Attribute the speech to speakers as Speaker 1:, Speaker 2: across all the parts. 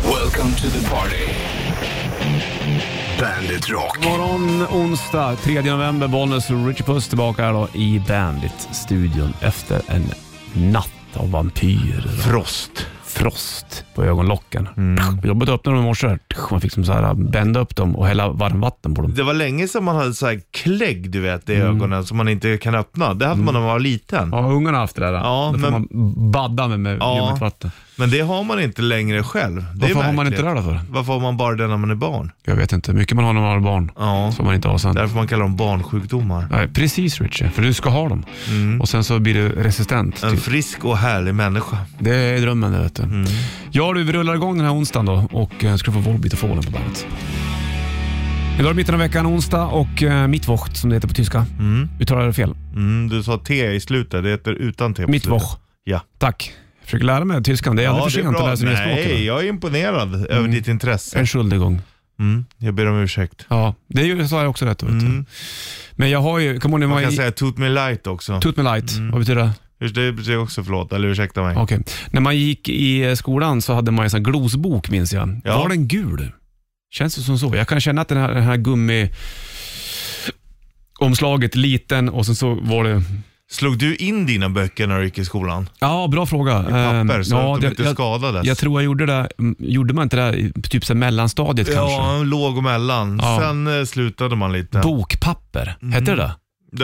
Speaker 1: Welcome to the party. Bandit Rock.
Speaker 2: Morgon onsdag 3 november, Bollnäs och Richie Puss tillbaka här då i Bandit-studion efter en natt av vampyrer och
Speaker 3: Frost.
Speaker 2: frost på ögonlocken. Jobbet öppnade dem i morse. Man fick som så här, äh, bända upp dem och hälla varmvatten på dem.
Speaker 3: Det var länge sedan man hade så här klägg du vet i ögonen som man inte kan öppna. Det hade man när man var liten.
Speaker 2: Mm. Ja, ungarna har haft det där.
Speaker 3: Ja,
Speaker 2: då får
Speaker 3: men-
Speaker 2: man badda med, med
Speaker 3: Ja.
Speaker 2: ljummet vatten.
Speaker 3: Men det har man inte längre själv. Det är
Speaker 2: Varför har man
Speaker 3: märkligt.
Speaker 2: inte det då för?
Speaker 3: Varför har man bara det när man är barn?
Speaker 2: Jag vet inte. Mycket man har när man har barn
Speaker 3: Ja,
Speaker 2: får man inte ha sen.
Speaker 3: därför man kallar dem barnsjukdomar. Mm.
Speaker 2: Nej, precis Richie, för du ska ha dem. Och sen så blir du resistent.
Speaker 3: En
Speaker 2: Typ.
Speaker 3: frisk och härlig människa. Mm.
Speaker 2: Det är drömmen det vet du. Ja du, vi rullar igång den här onsdagen då och eh, ska få Volbeat och Fallen på bandet. Idag är mitten av veckan, onsdag och eh, Mittwoch som det heter på tyska.
Speaker 3: Mm.
Speaker 2: Uttalar jag det fel?
Speaker 3: Mm, du sa T i slutet, det heter utan T på slutet.
Speaker 2: Mittwoch.
Speaker 3: Ja.
Speaker 2: Tack. Jag försöker lära mig tyskan. Det är Mm. aldrig för sent att lära sig nya språk.
Speaker 3: Nej,
Speaker 2: eller?
Speaker 3: jag är imponerad över ditt intresse.
Speaker 2: En skuldigång.
Speaker 3: Mm, jag ber om ursäkt.
Speaker 2: Ja, det är ju- sa jag också rätt. Vet du.
Speaker 3: Mm.
Speaker 2: Men jag har ju, kommer ihåg när jag
Speaker 3: Man kan
Speaker 2: var i...
Speaker 3: säga Mm. tut me light också.
Speaker 2: Tut me light, vad betyder det?
Speaker 3: Det betyder också förlåt, eller ursäkta mig.
Speaker 2: Okej. När man gick i eh, skolan så hade man ju en sån här glosbok minns jag.
Speaker 3: Ja.
Speaker 2: Var den gul? Känns det som så? Jag kan känna att den här, den här gummi omslaget liten och sen så var det...
Speaker 3: Slog du in dina böcker när du gick i skolan?
Speaker 2: Ja, bra fråga. Ehm,
Speaker 3: I papper så att de inte
Speaker 2: jag,
Speaker 3: skadades?
Speaker 2: jag tror jag gjorde det, mm, gjorde man inte det i typ så här mellanstadiet kanske?
Speaker 3: Ja, låg och mellan.
Speaker 2: Ja.
Speaker 3: Sen eh, slutade man lite.
Speaker 2: Bokpapper,
Speaker 3: Mm.
Speaker 2: hette det det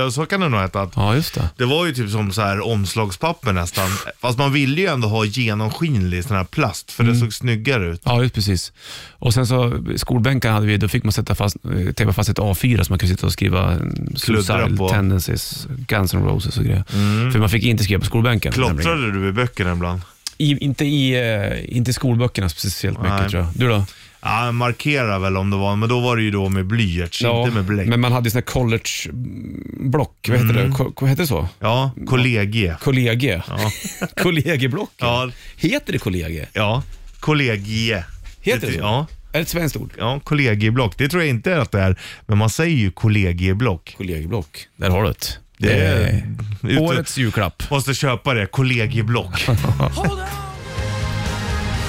Speaker 3: det, så kan det nog heta.
Speaker 2: Ja, just det.
Speaker 3: Det var ju typ som så här omslagspapper nästan. Fast man ville ju ändå ha genomskinlig sån här plast för det såg snyggare ut.
Speaker 2: Mm. Ja, just precis. Och sen så skolbänken hade vi, då fick man sätta fast, eh, tejpa fast ett A4 som man kunde sitta och skriva eh, Suicidal
Speaker 3: på. Mm.
Speaker 2: Tendencies, Guns N' Roses och grejer. För man fick inte skriva på skolbänken. nämligen.
Speaker 3: Klottrade du i böckerna ibland?
Speaker 2: I, inte, i, eh, inte i skolböckerna speciellt mycket
Speaker 3: Nej.
Speaker 2: tror jag. Du då?
Speaker 3: Ja, markera väl om det var, men då var det ju då med blyerts, inte med bläck. Mm.
Speaker 2: men man hade ju såna här collegeblock, vad heter det? Ko, ko, heter det så?
Speaker 3: Ja, kollegie.
Speaker 2: Kollegie?
Speaker 3: Ja.
Speaker 2: Kollegieblock?
Speaker 3: Ja,
Speaker 2: Heter det kollegie?
Speaker 3: ja. kollegie.
Speaker 2: Heter det så?
Speaker 3: Ja,
Speaker 2: Är det ett svenskt ord?
Speaker 3: ja kollegieblock. Det tror jag inte att det är, men man säger ju kollegieblock.
Speaker 2: Kollegieblock. Där har du det.
Speaker 3: Det är- Ute-
Speaker 2: årets julklapp.
Speaker 3: Måste köpa det, kollegieblock.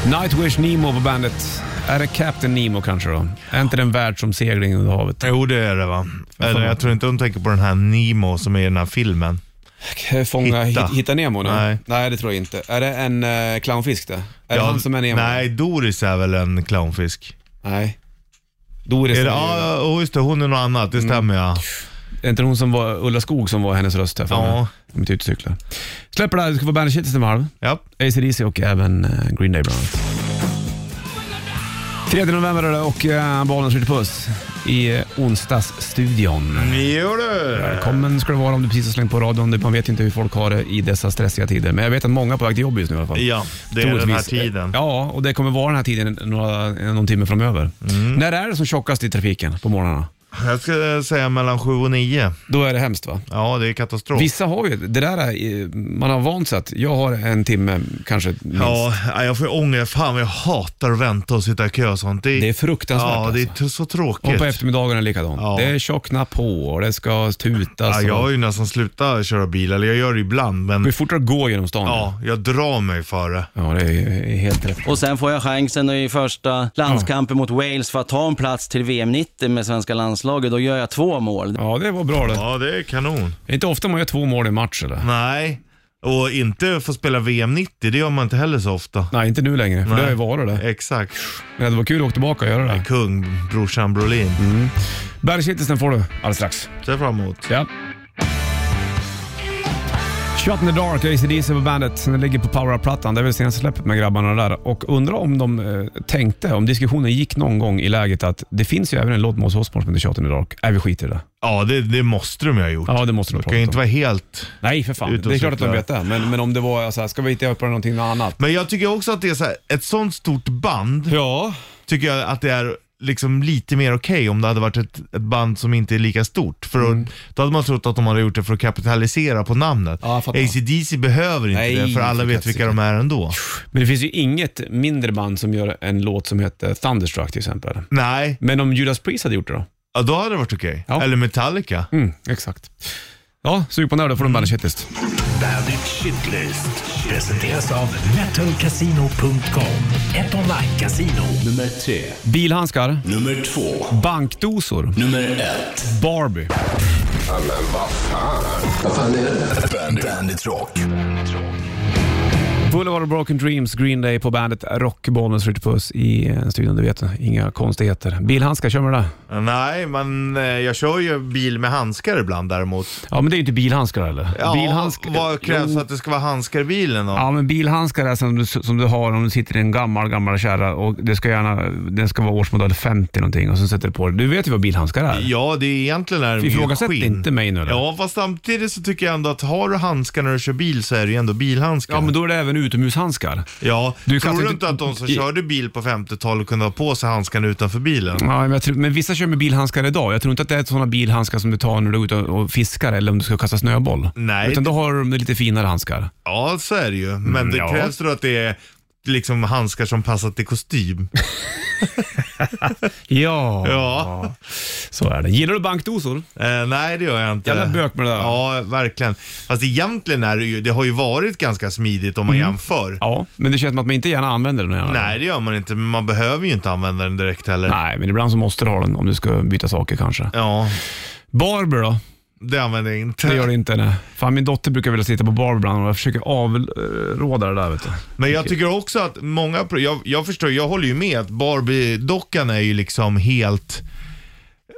Speaker 2: Nightwish Nemo på bandet. Är det Captain Nemo kanske då? Är inte den värld som segling under havet?
Speaker 3: Jo, det är det va. Eller, jag tror inte de tänker på den här Nemo som är i den här filmen.
Speaker 2: Fånga,
Speaker 3: Hitta.
Speaker 2: hitta, hitta Nemo? nu?
Speaker 3: Nej.
Speaker 2: Nej, det tror jag inte. Är det en eh, clownfisk det? Är det
Speaker 3: Ja,
Speaker 2: han som är Nemo?
Speaker 3: Nej, Doris är väl en clownfisk.
Speaker 2: Nej. Doris
Speaker 3: Är
Speaker 2: är,
Speaker 3: det, ja, oh, just det, hon är något annat,
Speaker 2: Mm.
Speaker 3: det stämmer ja.
Speaker 2: är inte hon som var Ulla Skog som var hennes röst här för mig?
Speaker 3: Ja,
Speaker 2: Om inte utcyklar. Släpper det här, du ska få bandet Kittis en halv.
Speaker 3: ja.
Speaker 2: ACDC och även eh, Green Day bland annat. 3 november är det och eh, Bollnäs skjuter puss i eh, onsdagsstudion.
Speaker 3: Jo du.
Speaker 2: Välkommen ska du vara om du precis har slängt på radion. Man vet inte hur folk har det i dessa stressiga tider. Men jag vet att många är på väg till jobbet just nu i alla fall.
Speaker 3: Ja, det är den här
Speaker 2: Troligtvis.
Speaker 3: tiden.
Speaker 2: Ja, och det kommer vara den här tiden några, någon timme framöver.
Speaker 3: Mm.
Speaker 2: När är det som tjockast i trafiken på morgnarna?
Speaker 3: Jag skulle säga mellan sju och nio.
Speaker 2: Då är det hemskt va?
Speaker 3: Ja, det är katastrof.
Speaker 2: Vissa har ju, det där är, man har vant sig att jag har en timme kanske minst.
Speaker 3: Ja, nej, jag får ångest. Fan vad jag hatar att vänta och sitta i kö och sånt.
Speaker 2: Det är fruktansvärt
Speaker 3: Ja, det är
Speaker 2: alltså.
Speaker 3: t- så
Speaker 2: Och
Speaker 3: tråkigt.
Speaker 2: på eftermiddagarna likadant.
Speaker 3: Ja.
Speaker 2: Det är tjockna på och det ska tutas.
Speaker 3: ja, jag har
Speaker 2: och,
Speaker 3: ju nästan slutat köra bil, eller jag gör det ibland, men
Speaker 2: det är fortare att gå genom stan.
Speaker 3: ja, jag drar mig för det.
Speaker 2: ja det är är helt rätt.
Speaker 4: Och sen får jag chansen i första landskampen mot Wales för att ta en plats till VM 90 med svenska landslaget. Då gör jag två mål.
Speaker 2: Ja, det var bra det.
Speaker 3: Ja, det är kanon.
Speaker 2: Det är inte ofta man gör två mål i en match eller?
Speaker 3: Nej, och inte få spela VM 90, det gör man inte heller så ofta.
Speaker 2: Nej, inte nu längre, för
Speaker 3: Nej.
Speaker 2: det har ju varit det.
Speaker 3: Exakt.
Speaker 2: Men det var kul att åka tillbaka och göra det.
Speaker 3: Kung, brorsan Brolin.
Speaker 2: Bergkittelsen får du alldeles strax.
Speaker 3: Ser fram emot.
Speaker 2: Ja. Shot in the Dark, ACDC på bandet. Den ligger på Power Up-plattan. Det är väl senaste släppet med grabbarna där. Och undrar om de eh, tänkte, om diskussionen gick någon gång i läget att det finns ju även en låt med oss Osbourne som heter Shot in the Dark. Nej, vi skiter i det.
Speaker 3: Ja, det, det måste de ju ha gjort.
Speaker 2: Ja, det måste de
Speaker 3: kan
Speaker 2: prata
Speaker 3: ju inte
Speaker 2: om.
Speaker 3: vara helt...
Speaker 2: Nej, för fan.
Speaker 3: Ut och
Speaker 2: Det är klart att de
Speaker 3: cykla.
Speaker 2: vet det. Men, men om det var så här, ska vi inte göra på någonting annat?
Speaker 3: Men jag tycker också att det är så här, ett sånt stort band,
Speaker 2: Ja.
Speaker 3: tycker jag att det är liksom lite mer okej om det hade varit ett, ett band som inte är lika stort. För
Speaker 2: Mm.
Speaker 3: att, då hade man trott att de hade gjort det för att kapitalisera på namnet.
Speaker 2: Ja, jag fattar.
Speaker 3: ACDC behöver inte
Speaker 2: Nej,
Speaker 3: det, för alla
Speaker 2: för
Speaker 3: vet vilka de är ändå.
Speaker 2: Men det finns ju inget mindre band som gör en låt som heter Thunderstruck till exempel.
Speaker 3: Nej,
Speaker 2: Men om Judas Priest hade gjort det då?
Speaker 3: ja, då hade det varit okej.
Speaker 2: Ja.
Speaker 3: Eller Metallica.
Speaker 2: Mm, exakt. Ja, sug på den här då får du en bandet
Speaker 1: Bandit Shitlist. Presenteras av metalcasino.com. Ett online-casino.
Speaker 5: Nummer tre.
Speaker 2: Bilhandskar,
Speaker 5: Nummer två.
Speaker 2: bankdosor,
Speaker 5: Nummer ett.
Speaker 2: Barbie.
Speaker 5: Vad fan är det? Bandit, Bandit Rock.
Speaker 2: Boulevard of Broken Dreams, Green Day på bandet Rock, Bollnäs, Ritchie Puss i eh, studion. Du vet, inga konstigheter. Bilhandskar, kör med det där.
Speaker 3: Nej, men eh, jag kör ju bil med handskar ibland däremot.
Speaker 2: Ja, men det är ju inte bilhandskar eller?
Speaker 3: Ja,
Speaker 2: Bilhandsk-
Speaker 3: Vad krävs
Speaker 2: Jo.
Speaker 3: för att det ska vara handskar i bilen då?
Speaker 2: Ja, men bilhandskar är som du, som du har om du sitter i en gammal, gammal kärra och det ska gärna, den ska vara årsmodell 50 någonting och så sätter du på det. Du vet ju vad bilhandskar är.
Speaker 3: Ja, det är egentligen är det ju
Speaker 2: Ifrågasätt
Speaker 3: skinn.
Speaker 2: inte mig nu eller?
Speaker 3: Ja, fast samtidigt så tycker jag ändå att har du handskar när du kör bil så är det ju ändå bilhandskar.
Speaker 2: Ja, men då är det även utomhushandskar.
Speaker 3: Ja,
Speaker 2: Du
Speaker 3: tror
Speaker 2: kastar
Speaker 3: du
Speaker 2: inte-
Speaker 3: inte att de som
Speaker 2: i-
Speaker 3: körde bil på 50-talet kunde ha på sig handskarna utanför bilen?
Speaker 2: Ja, men, jag tror, men vissa kör med bilhandskar idag. Jag tror inte att det är sådana bilhandskar som du tar när du är ute och och fiskar eller om du ska kasta snöboll.
Speaker 3: Nej.
Speaker 2: Utan då har de lite finare handskar.
Speaker 3: Ja, så är det ju. Men det
Speaker 2: Mm, ja.
Speaker 3: krävs då att det är liksom handskar som passar till kostym.
Speaker 2: Ja.
Speaker 3: Ja.
Speaker 2: så är det. Gillar du bankdosor?
Speaker 3: Eh, nej, det gör jag inte.
Speaker 2: Jävla bök med det där.
Speaker 3: Ja, verkligen. Fast egentligen är det ju, det har ju varit ganska smidigt om man
Speaker 2: Mm.
Speaker 3: jämför.
Speaker 2: Ja, men det känns som att man inte gärna använder den. Gärna.
Speaker 3: Nej, det gör man inte. Men man behöver ju inte använda den direkt heller.
Speaker 2: Nej, men ibland så måste du ha den om du ska byta saker kanske.
Speaker 3: Ja,
Speaker 2: Barber då?
Speaker 3: det använder jag inte.
Speaker 2: Det gör det inte. Nej. Fan, min dotter brukar vilja sitta på Barber ibland och jag försöker avråda det där. Vet du.
Speaker 3: Men jag tycker också att många, pro- jag, jag förstår, jag håller ju med att Barbie-dockan är ju liksom helt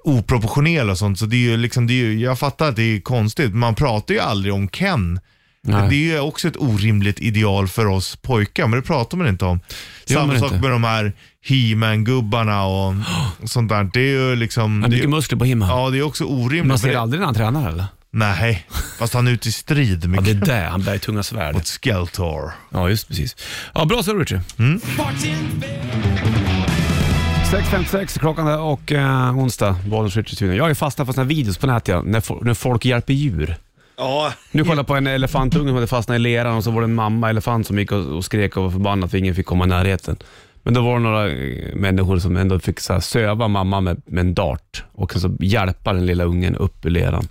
Speaker 3: oproportionell och sånt. Så det är ju liksom, det är ju, jag fattar att det är konstigt. Man pratar ju aldrig om Ken.
Speaker 2: Nej.
Speaker 3: Det är ju också ett orimligt ideal för oss pojkar, men det pratar man inte om.
Speaker 2: Det gör
Speaker 3: Samma
Speaker 2: man
Speaker 3: sak
Speaker 2: inte.
Speaker 3: med de här He-Man-gubbarna och sånt där. Det är ju
Speaker 2: Han
Speaker 3: liksom... Det
Speaker 2: har
Speaker 3: är,
Speaker 2: mycket
Speaker 3: ju-
Speaker 2: muskler på himlen.
Speaker 3: ja, det är också orimligt.
Speaker 2: Man ser
Speaker 3: men det-
Speaker 2: aldrig när han tränar eller?
Speaker 3: Nej, fast han är ute i strid
Speaker 2: Ja,
Speaker 3: med
Speaker 2: det är det. Han bär tunga svärd.
Speaker 3: mot Skeletor.
Speaker 2: Ja, just precis. Ja, bra så Richie. Mm. 6.56 klockan där och eh, onsdag, Bollnäs Richie studion. Jag är fastnat på såna här videos på nätet ja, när, fo- när folk hjälper djur.
Speaker 3: Ja,
Speaker 2: Nu kollar jag på en elefantunge som hade fastnat i leran och så var det en mamma elefant som gick och, och skrek och var förbannad för ingen fick komma i närheten. Men då var det några eh, människor som ändå fick så här, söva mamma med, med en dart och sen så hjälpa den lilla ungen upp ur leran.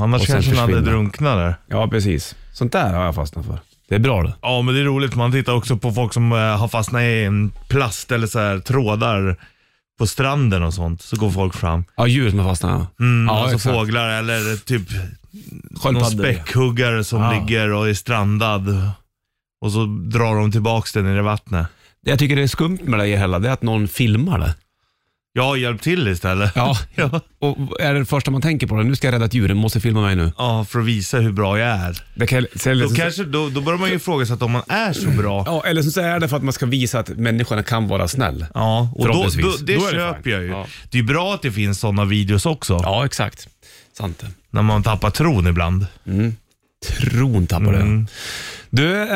Speaker 3: annars
Speaker 2: Och sen
Speaker 3: kanske han hade
Speaker 2: försvinner.
Speaker 3: drunknat där.
Speaker 2: Ja, precis. Sånt där har jag fastnat för. Det är bra det.
Speaker 3: Ja, men det är roligt. Man tittar också på folk som eh, har fastnat i en plast eller så här trådar på stranden och sånt. Så går folk fram.
Speaker 2: Ja, djur som har fastnat. ja.
Speaker 3: Mm,
Speaker 2: ja,
Speaker 3: alltså
Speaker 2: exakt.
Speaker 3: fåglar eller typ någon
Speaker 2: Sköldpaddor.
Speaker 3: späckhuggare som
Speaker 2: Ja.
Speaker 3: ligger och är strandad. Och så drar de tillbaks den i det vattnet.
Speaker 2: Det jag tycker det är skumt med det hela, det är att någon filmar det.
Speaker 3: Ja, hjälp till istället.
Speaker 2: Ja.
Speaker 3: Ja.
Speaker 2: Och är det första man tänker på det? Nu ska jag rädda ett djur, den måste filma mig nu.
Speaker 3: Ja, för att visa hur bra jag är.
Speaker 2: Det liksom- kan, så, eller,
Speaker 3: Då,
Speaker 2: så,
Speaker 3: kanske, då, då börjar man ju ifrågasätta om man är så bra.
Speaker 2: ja, eller så är det för att man ska visa att människorna kan vara snäll.
Speaker 3: Ja, och då, då,
Speaker 2: Förhoppningsvis.
Speaker 3: det
Speaker 2: Då är det
Speaker 3: köper
Speaker 2: fine.
Speaker 3: jag ju.
Speaker 2: Ja.
Speaker 3: Det är ju bra att det finns sådana videos också.
Speaker 2: Ja, exakt. Sant det.
Speaker 3: När man tappar tron ibland.
Speaker 2: Tron tappar det.
Speaker 3: Mm.
Speaker 2: Du, eh,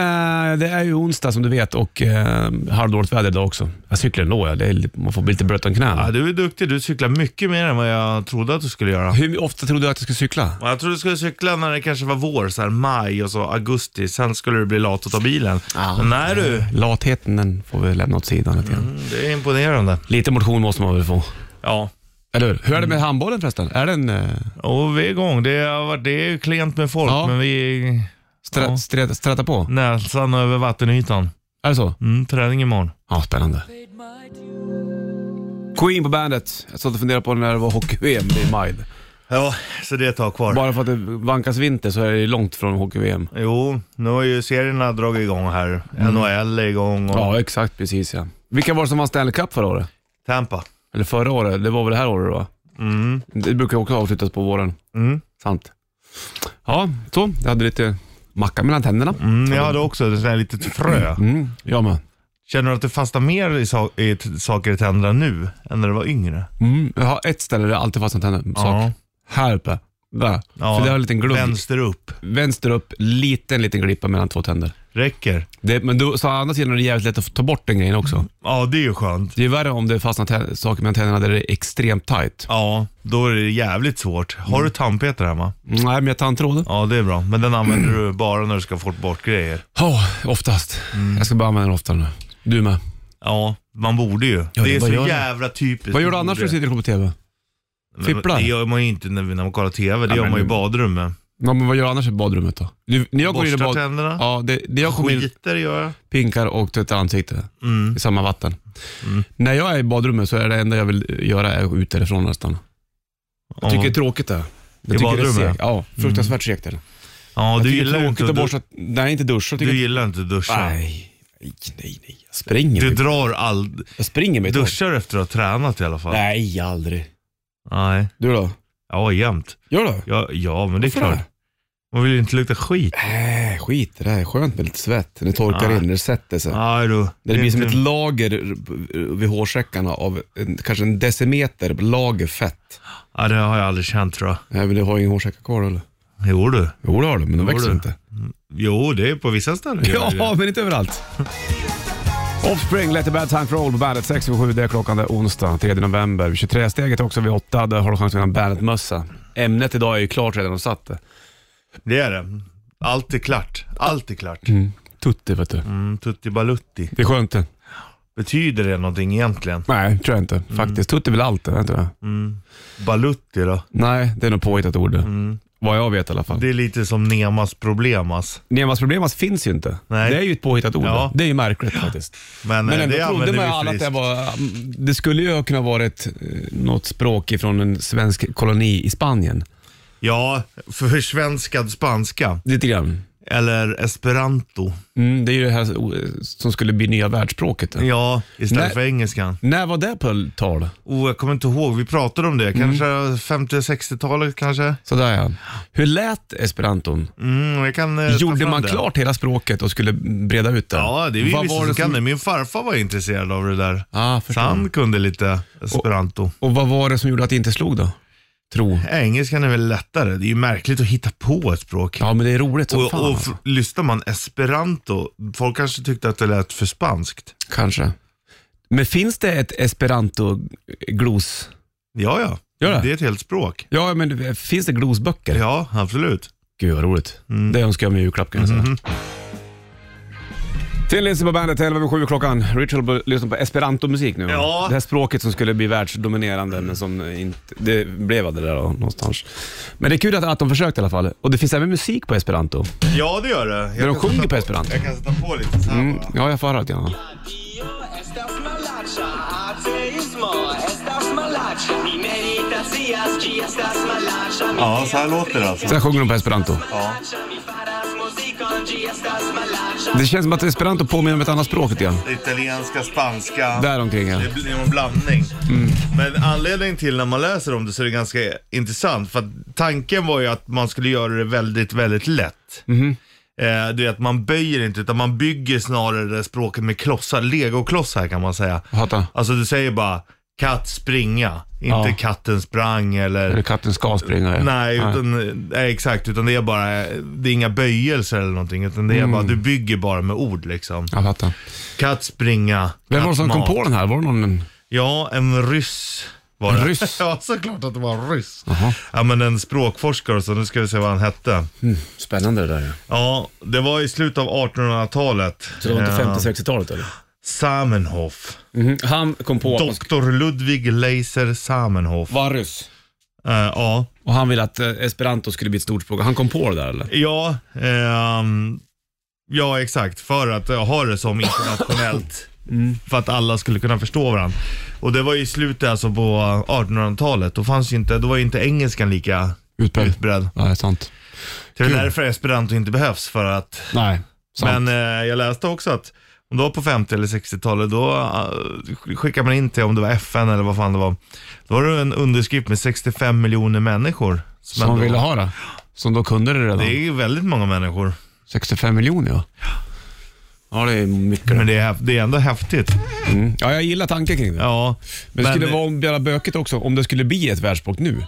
Speaker 2: det är ju onsdag som du vet och eh, halvdåligt väder idag också. Jag cyklar ändå, ja. Det är, lite- man får bli lite blöt om knäna.
Speaker 3: Ja, du är duktig. Du cyklar mycket mer än vad jag trodde att du skulle göra.
Speaker 2: Hur ofta trodde du att jag skulle cykla?
Speaker 3: Och Jag trodde du skulle cykla när det kanske var vår, så här maj och så augusti. Sen skulle du bli lat och ta bilen. Men nej du,
Speaker 2: Latheten den får vi lämna åt sidan lite grann.
Speaker 3: det är imponerande.
Speaker 2: Lite motion måste man väl få.
Speaker 3: Ja.
Speaker 2: Eller hur? Hur är det med handbollen förresten? Är den eh,
Speaker 3: Och vi är igång. Det, har varit, det är ju klent med folk,
Speaker 2: Ja.
Speaker 3: men vi är
Speaker 2: strä,
Speaker 3: Ja. Mm.
Speaker 2: strä, sträta på?
Speaker 3: näsan över vattenytan.
Speaker 2: Är det så?
Speaker 3: Mm, träning imorgon.
Speaker 2: Ja, spännande. Queen på bandet. Jag satt och funderade på när det var hockey-VM i maj.
Speaker 3: Ja, så det tar kvar.
Speaker 2: Bara för att det vankas vinter så är det ju långt från hockey-VM.
Speaker 3: Jo, nu har ju serierna dragit igång här. NHL är igång och
Speaker 2: Ja, exakt. Precis ja. Vilka var det som vann Stanley Cup förra året?
Speaker 3: Tampa.
Speaker 2: Eller förra året? Det var väl det här året va?
Speaker 3: Mm.
Speaker 2: Det brukar också avslutas på våren.
Speaker 3: Mm.
Speaker 2: Sant. Ja, så. Jag hade lite macka mellan tänderna.
Speaker 3: Mm, jag hade också ett sånt här litet frö.
Speaker 2: Mm, jag med.
Speaker 3: Känner du att det fastnar mer i, sa- i t- saker i tänderna nu än när du var yngre?
Speaker 2: Mm, jag har ett ställe där det alltid fastnar tänder. Sak.
Speaker 3: Ja.
Speaker 2: Här uppe. Där.
Speaker 3: Ja.
Speaker 2: För det har en liten glugg.
Speaker 3: Vänster upp.
Speaker 2: Vänster upp, liten, liten glipa mellan två tänder.
Speaker 3: Räcker.
Speaker 2: Det, men då, så å andra sidan är det jävligt lätt att ta bort den grejen också.
Speaker 3: Ja, det är ju skönt.
Speaker 2: Det är värre om det fastnar tä- saker mellan tänderna där det är extremt tight.
Speaker 3: Ja, då är det jävligt svårt. Har
Speaker 2: Mm.
Speaker 3: du tandpetare hemma?
Speaker 2: Nej, men jag tandtråd.
Speaker 3: Ja, det är bra. Men den använder du bara när du ska få bort grejer.
Speaker 2: Ja, oftast. Jag ska bara använda den oftare nu. Du med.
Speaker 3: Ja, man borde ju. det är
Speaker 2: vad
Speaker 3: så
Speaker 2: gör du?
Speaker 3: jävla typiskt.
Speaker 2: Vad gör du
Speaker 3: Man
Speaker 2: annars när
Speaker 3: borde.
Speaker 2: du sitter och kollar på TV?
Speaker 3: Men-
Speaker 2: fipplar?
Speaker 3: Det gör man ju inte när, vi- när man kollar TV. Det
Speaker 2: Ja,
Speaker 3: gör
Speaker 2: men-
Speaker 3: man ju i badrummet.
Speaker 2: Ja, men vad gör du annars i badrummet då? Du, när jag går in i
Speaker 3: Borstar
Speaker 2: bad...
Speaker 3: tänderna.
Speaker 2: Ja, det, när jag kommer in
Speaker 3: Skiter gör jag.
Speaker 2: pinkar och tvättar ansiktet
Speaker 3: Mm.
Speaker 2: i samma vatten. När jag är i badrummet så är det enda jag vill göra är att gå ut därifrån nästan. Jag tycker det är tråkigt det. Jag
Speaker 3: I
Speaker 2: tycker det är
Speaker 3: badrummet? Mm.
Speaker 2: segt. Ja, fruktansvärt segt är det.
Speaker 3: Ja,
Speaker 2: Jag
Speaker 3: du
Speaker 2: tycker det är
Speaker 3: gillar inte
Speaker 2: tråkigt
Speaker 3: att
Speaker 2: att
Speaker 3: du,
Speaker 2: borsta... Nej, inte duscha. Jag
Speaker 3: du
Speaker 2: Tycker...
Speaker 3: gillar inte att duscha.
Speaker 2: Nej, nej, nej. nej. Jag springer.
Speaker 3: Du
Speaker 2: mig.
Speaker 3: drar all...
Speaker 2: Jag springer mig ett tag.
Speaker 3: Duschar efter att ha tränat i alla fall?
Speaker 2: Nej, aldrig.
Speaker 3: Nej.
Speaker 2: Du då?
Speaker 3: Ja, jämt.
Speaker 2: Gör du?
Speaker 3: Ja, ja men det är
Speaker 2: Varför
Speaker 3: klart.
Speaker 2: det?
Speaker 3: Man vill ju inte lukta skit.
Speaker 2: Nej, skit i det. här är skönt med lite svett. Det torkar
Speaker 3: Nej.
Speaker 2: in, det sätter sig.
Speaker 3: Nej du.
Speaker 2: Det, blir
Speaker 3: är
Speaker 2: som
Speaker 3: inte-
Speaker 2: ett lager vid hårsäckarna av en, kanske en decimeter lager fett.
Speaker 3: Ja, det har jag aldrig känt tror jag.
Speaker 2: Nej, men du har ingen hårsäckar kvar eller?
Speaker 3: Jo du.
Speaker 2: Jo, det har du, men de växer
Speaker 3: du.
Speaker 2: inte.
Speaker 3: Jo, det är på vissa ställen. gör det.
Speaker 6: Ja, men inte överallt. Offspring, Let the bad time for all på bandet. 6 och 7, det är klockan. Det är onsdag, 3 november. 23-steget också vid 8. Där har du chans att vinna en Bandet-mössa.
Speaker 2: Ämnet idag är ju klart redan, de satt det.
Speaker 3: Det är det. Allt är klart. Allt är klart.
Speaker 2: Mm. Tutti vet du.
Speaker 3: Mm, tutti balutti.
Speaker 2: Det är skönt det.
Speaker 3: Betyder det någonting egentligen?
Speaker 2: Nej, tror jag
Speaker 6: Mm.
Speaker 2: inte. Faktiskt. Tutti är väl allt det, tror jag.
Speaker 3: Balutti då?
Speaker 2: Nej, det är nog påhittat ord det.
Speaker 6: Mm.
Speaker 2: Vad jag vet i alla fall. alltså
Speaker 3: Det är lite som Nemas alltså. problemas.
Speaker 6: Nemas problemas finns ju inte.
Speaker 3: Nej.
Speaker 6: Det är ju ett påhittat ord.
Speaker 3: Ja.
Speaker 6: Det är ju märkligt faktiskt.
Speaker 3: Men,
Speaker 2: Men
Speaker 3: eh,
Speaker 2: ändå
Speaker 3: det
Speaker 2: trodde man ju
Speaker 3: använder
Speaker 2: alla
Speaker 3: vi
Speaker 2: att det
Speaker 3: friskt.
Speaker 2: var... Det skulle ju kunna varit eh, något språk ifrån en svensk koloni i Spanien.
Speaker 3: Ja, försvenskad spanska.
Speaker 2: Lite grann.
Speaker 3: Eller esperanto.
Speaker 2: Mm, det är ju det här o- som skulle bli nya världsspråket. då.
Speaker 3: Ja, istället
Speaker 2: Nej.
Speaker 3: för engelskan.
Speaker 2: När var det på tal?
Speaker 3: Oh, jag kommer inte ihåg, vi pratade om
Speaker 2: Mm.
Speaker 3: det. Kanske 50-60-talet kanske?
Speaker 2: Sådär ja. Hur lät esperanton?
Speaker 3: Mm, jag kan eh, ta
Speaker 2: Gjorde
Speaker 3: fram
Speaker 2: man
Speaker 3: det.
Speaker 2: klart hela språket och skulle breda ut det?
Speaker 3: Ja, det är vi
Speaker 2: Vad
Speaker 3: vissa
Speaker 2: var
Speaker 3: som
Speaker 2: det
Speaker 3: kan
Speaker 2: som,
Speaker 3: det. Min farfar var intresserad av det där.
Speaker 2: ah,
Speaker 3: Så
Speaker 2: förstår.
Speaker 3: han kunde lite esperanto.
Speaker 2: Och vad var det som gjorde att det inte slog då? Tro.
Speaker 3: Engelskan är väl lättare. Det är ju märkligt att hitta på ett språk.
Speaker 2: Ja, men det är roligt som
Speaker 3: och
Speaker 2: fan.
Speaker 3: och
Speaker 2: alltså.
Speaker 3: f- lyssnar man esperanto, folk kanske tyckte att det lät för spanskt.
Speaker 2: Kanske. Men finns det ett esperanto-glos?
Speaker 3: Ja, ja.
Speaker 2: Gör det?
Speaker 3: Det är ett helt språk.
Speaker 2: Ja, men finns det glosböcker?
Speaker 3: Ja, absolut.
Speaker 2: Gud vad roligt.
Speaker 3: Mm.
Speaker 2: Det önskar jag mig i julklapp kan jag säga.
Speaker 3: Mhm.
Speaker 6: Till Lindsey på bandet, 11 över 7 klockan. Ritual b- lyssnar på esperanto-musik nu.
Speaker 3: Ja.
Speaker 6: Det här språket som skulle bli världsdominerande, men som inte... Det blev aldrig det där då, någonstans. Men det är kul att, att de försökte i alla fall. Och det finns även musik på esperanto.
Speaker 3: Ja, det gör det.
Speaker 6: Där de
Speaker 3: kan sätta
Speaker 6: sjunger på esperanto.
Speaker 3: Jag kan sätta på lite så här
Speaker 6: Mm,
Speaker 3: bara.
Speaker 6: ja, jag får höra lite grann.
Speaker 7: Estas malacha, ateismo, estas malacha, mi meditacias, ki estas malacha, mi
Speaker 3: Ja, så här låter det alltså.
Speaker 6: Så här sjunger de på esperanto.
Speaker 7: malacha, mi faras muzikon, ki estas malacha.
Speaker 6: Det känns som att esperanto påminner om ett annat språk lite grann.
Speaker 3: Italienska, spanska.
Speaker 6: Där omkring ja.
Speaker 3: Det blir en blandning. Men anledningen till när man läser om det så är det ganska intressant. För att tanken var ju att man skulle göra det väldigt, väldigt lätt. Eh, du vet, man böjer inte utan man bygger snarare det språket med klossar, legoklossar kan man säga.
Speaker 2: Hata.
Speaker 3: Alltså du säger bara katt springa, inte
Speaker 2: Ja.
Speaker 3: katten sprang
Speaker 2: Eller
Speaker 3: eller
Speaker 2: katten ska springa. ja.
Speaker 3: Nej, utan, nej, exakt. Utan det är bara, det är inga böjelser eller någonting. Utan det är
Speaker 2: Mm.
Speaker 3: bara, du bygger bara med ord liksom.
Speaker 2: Jag fattar.
Speaker 3: Katt springa,
Speaker 2: Vem var det
Speaker 3: katt
Speaker 2: som
Speaker 3: mat.
Speaker 2: kom på den här? Var det någon...
Speaker 3: Ja, en ryss var det.
Speaker 2: En ryss?
Speaker 3: ja, såklart att det var en ryss. Ja, men en språkforskare, så nu ska vi se vad han hette.
Speaker 2: Spännande det där
Speaker 3: Ja, det var i slutet av 1800-talet.
Speaker 2: Så det var inte
Speaker 3: Eh,
Speaker 2: 50-60-talet eller?
Speaker 3: Samenhof.
Speaker 2: Mhm. Han kom på att man sk-
Speaker 3: Doktor Ludwig Leiser Samenhof.
Speaker 2: var ryss.
Speaker 3: Eh, ja,
Speaker 2: Och han ville att eh, esperanto skulle bli ett stort språk. Han kom på det där eller?
Speaker 3: ja, ehm, ja exakt. För att jag har det som internationellt.
Speaker 2: Mm.
Speaker 3: För att alla skulle kunna förstå varandra. Och det var i slutet alltså på 1800-talet. Då, fanns ju inte, då var ju inte engelskan lika
Speaker 2: Utbredd.
Speaker 3: utbredd.
Speaker 2: Ja, det är sant.
Speaker 3: Det är
Speaker 2: Kul.
Speaker 3: därför esperanto inte behövs för att...
Speaker 2: Nej, sant.
Speaker 3: Men eh, jag läste också att om det var på 50 eller 60-talet, då eh, skickade man in till, om det var FN eller vad fan det var, då var det en underskrift med 65 miljoner människor. Som
Speaker 2: som
Speaker 3: ändå-
Speaker 2: ville ha det. Som då kunde det redan.
Speaker 3: Det är ju väldigt många människor.
Speaker 2: 65 miljoner ja. Ja, det är mycket.
Speaker 3: Men det är, häf- det är ändå häftigt.
Speaker 2: Mm. Ja, jag gillar tanken kring det.
Speaker 3: Ja. eh,
Speaker 2: Men, skulle det vara om jävla böket också, om det skulle bli ett världsspråk nu?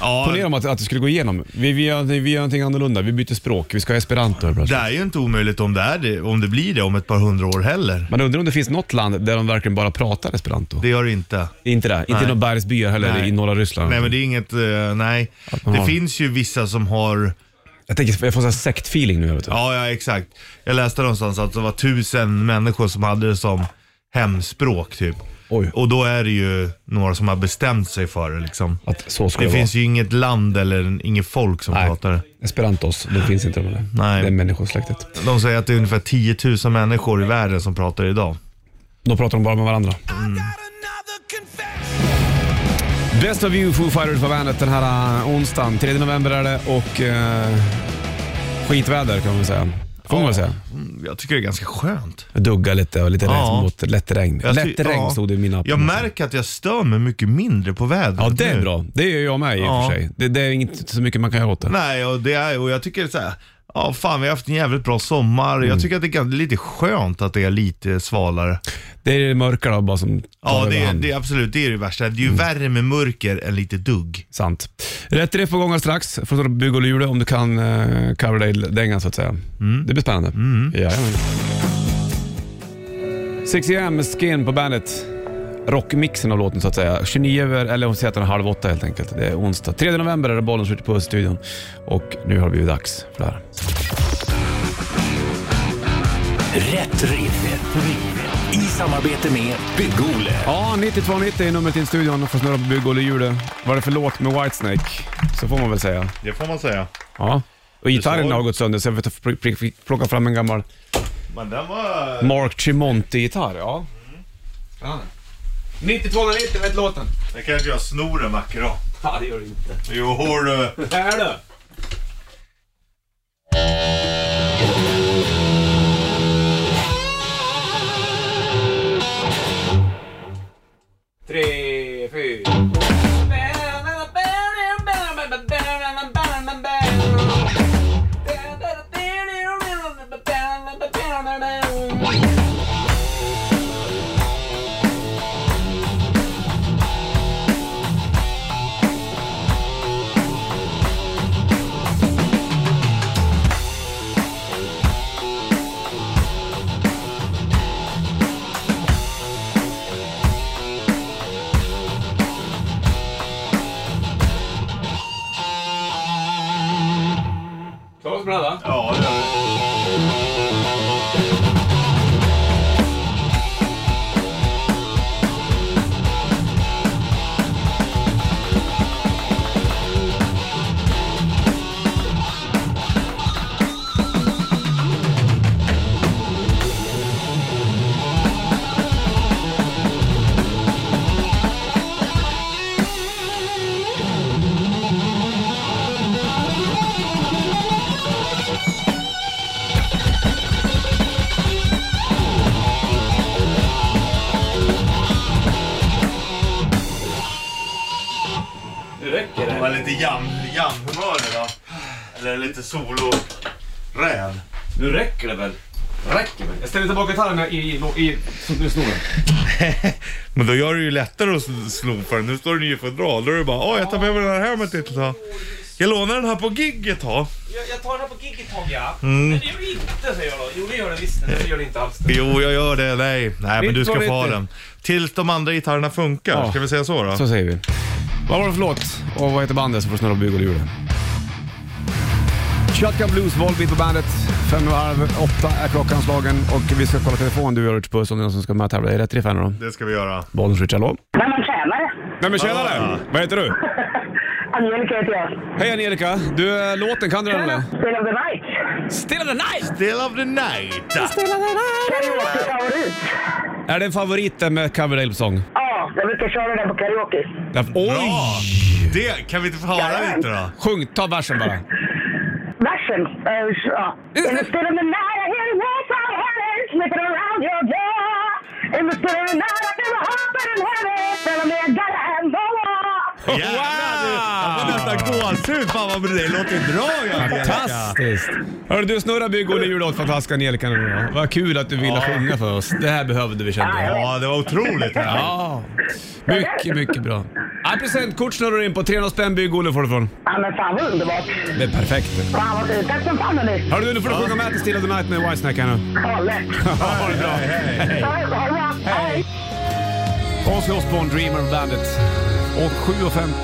Speaker 2: Ponera
Speaker 3: ja,
Speaker 2: om att, att det skulle gå igenom. Vi, vi, gör, vi gör någonting annorlunda, vi byter språk, vi ska ha esperanto helt
Speaker 3: det
Speaker 2: plötsligt.
Speaker 3: är ju inte omöjligt om det, är det, om det blir det om ett par hundra år heller.
Speaker 2: Man undrar om det finns något land där de verkligen bara pratar esperanto?
Speaker 3: Det gör det inte.
Speaker 2: Inte det? Inte i
Speaker 3: Nej.
Speaker 2: några bergsbyar heller
Speaker 3: Nej.
Speaker 2: i norra Ryssland?
Speaker 3: Nej men det är inget, eh, nej.
Speaker 2: man
Speaker 3: Det
Speaker 2: har-
Speaker 3: finns ju vissa som har
Speaker 2: Jag, tänker, jag får sån här sektfeeling nu. Vet du.
Speaker 3: Ja, ja exakt. Jag läste någonstans att det var tusen människor som hade det som hemspråk typ.
Speaker 2: Oj.
Speaker 3: Och då är det ju några som har bestämt sig för det liksom.
Speaker 2: Att så ska
Speaker 3: Det
Speaker 2: det,
Speaker 3: finns ju inget land eller inget folk som
Speaker 2: Nej.
Speaker 3: pratar det.
Speaker 2: vara. Esperantos, det finns inte. Det,
Speaker 3: Nej.
Speaker 2: det är människosläktet.
Speaker 3: De säger att det är ungefär 10 000 människor i världen som pratar idag.
Speaker 2: Då pratar de bara med varandra. Best of you Foo Fighters på bandet den här eh, onsdagen. 3 november är det och eh, skitväder kan man väl säga. Får man väl säga.
Speaker 3: Jag tycker det är ganska skönt.
Speaker 2: Dugga lite och lite
Speaker 3: Ja.
Speaker 2: regn mot lätt regn.
Speaker 3: Jag
Speaker 2: lätt
Speaker 3: ty-
Speaker 2: regn
Speaker 3: ja.
Speaker 2: stod det i mina appar.
Speaker 3: Jag märker att jag stör mig mycket mindre på vädret
Speaker 2: Ja, det är
Speaker 3: nu.
Speaker 2: bra. Det gör jag med i och
Speaker 3: Ja.
Speaker 2: för sig. Det, det är inte så mycket man kan göra åt det.
Speaker 3: Nej, och, det är, och jag tycker så här. Ja, fan vi har haft en jävligt bra sommar.
Speaker 2: Mm.
Speaker 3: Jag tycker att det är ganska- lite skönt att det är lite svalare.
Speaker 2: Det är det mörka då bara som
Speaker 3: Ja,
Speaker 2: tar
Speaker 3: det, är-
Speaker 2: överhand.
Speaker 3: det är absolut det är det värsta. Det är ju värre med mörker än lite dugg.
Speaker 2: Sant. Rätt riff på gång strax. Får ta bygg och lure om du kan uh, cover dig dängan så att säga. Det blir spännande. Mm. Jajamän. 6 am Skin på bandet. Rockmixen av låten så att säga. 29 över, eller hon säger att den är halv åtta helt enkelt. Det är onsdag. 3 november är det bollen skjuter på studion och nu har det blivit dags för det här.
Speaker 1: Rätt riff. Rätt riff. I samarbete med Bygg-Ole.
Speaker 2: Ja, 9290 är numret till studion för att snurra på bygg och hjulet. Vad är det för låt med Whitesnake? Så får man väl säga.
Speaker 3: Det får man säga.
Speaker 2: Ja. Och gitarren
Speaker 3: står-
Speaker 2: har gått sönder så jag fick pl- pl- pl- plocka fram en gammal
Speaker 3: Men den var...
Speaker 2: Mark Tremonti-gitarr, ja. Spännande. 9290, vet låten?
Speaker 3: Den kanske jag snor en vacker dag.
Speaker 2: Ja, det gör det inte.
Speaker 3: Jo, du.
Speaker 2: Här du! Tre, fyra. Klarar oss bra va?
Speaker 3: Ja, det är det. Det var lite jam, jam-humör idag. Eller lite solo räv.
Speaker 2: Nu räcker det väl? Räcker väl? Jag ställer tillbaka gitarren i, i, i, så att du snor den.
Speaker 3: Men då gör det ju lättare att sno för den. Nu står den ju i fodral. Då är det bara, åh jag tar med mig den här hem ett litet tag. Jag lånar den här på gigget ha.
Speaker 2: Jag, jag tar den på gigget tag ja. Men det gör det inte säger jag då. Jo det gör det visst. Det gör det inte alls.
Speaker 3: Jo, jag gör det. Nej, nej men du ska få ha
Speaker 2: 1990.
Speaker 3: den. Tills de andra gitarrerna funkar.
Speaker 2: Ja.
Speaker 3: Ska vi säga så då?
Speaker 2: Så säger vi. Vad var det för låt? Och vad heter bandet som får snurra på bygg och hjulen? Shotgun Blues, Volbeat på bandet. Fem och halv åtta är klockan slagen och vi ska kolla telefon du och Rich Puss om det är någon som ska med och tävla. Är det rätt riff här nu då?
Speaker 3: Det ska vi göra.
Speaker 2: Bollens Rich, hallå?
Speaker 8: Nej men tjänare!
Speaker 2: Nej men tjenare!
Speaker 3: Ah.
Speaker 2: Vad heter du?
Speaker 8: Angelica heter jag.
Speaker 2: Hej Angelica! Du, eh, låten kan du den eller?
Speaker 8: Spel of the night.
Speaker 2: Still of the night!
Speaker 3: Still of the night.
Speaker 8: Karaoke favorit.
Speaker 2: Är det en favorit den med Cover Ape-sång?
Speaker 8: Ja, jag brukar köra den på karaoke.
Speaker 2: Oj!
Speaker 3: Bra! Det kan vi inte få höra lite då?
Speaker 2: Sjung, ta versen bara.
Speaker 8: Versen. eh, ja. In the still of the night I hear the walls of heaven slipping around your door. In the still of the night I feel a heartbeat in heaven. Telling me I gotta have more.
Speaker 3: Jävlar! du- Jag får nästan gåshud. Fan vad det låter bra ju, Angelica.
Speaker 2: Fantastiskt! Hörru du, snurra bygg och jul åt fantastiska Angelica nu då. Vad kul att du ville sjunga för oss. Det här behövde vi kände jag.
Speaker 3: Ja, det var otroligt.
Speaker 2: Ja, mycket, mycket bra. Ja, presentkort snurrar du in på. 300 spänn bygg Olle får du från.
Speaker 8: Ja men fan vad underbart.
Speaker 2: Det är perfekt.
Speaker 8: Fan vad fint. Tack som fan hörni.
Speaker 2: Hörru du, nu får du sjunga med till Still of the Night med Whitesnake här nu.
Speaker 8: Ja, lätt.
Speaker 2: Ha det bra.
Speaker 8: Ha det bra. Hej.
Speaker 2: Ozzy Osbourne, Dreamer of Bandit. Och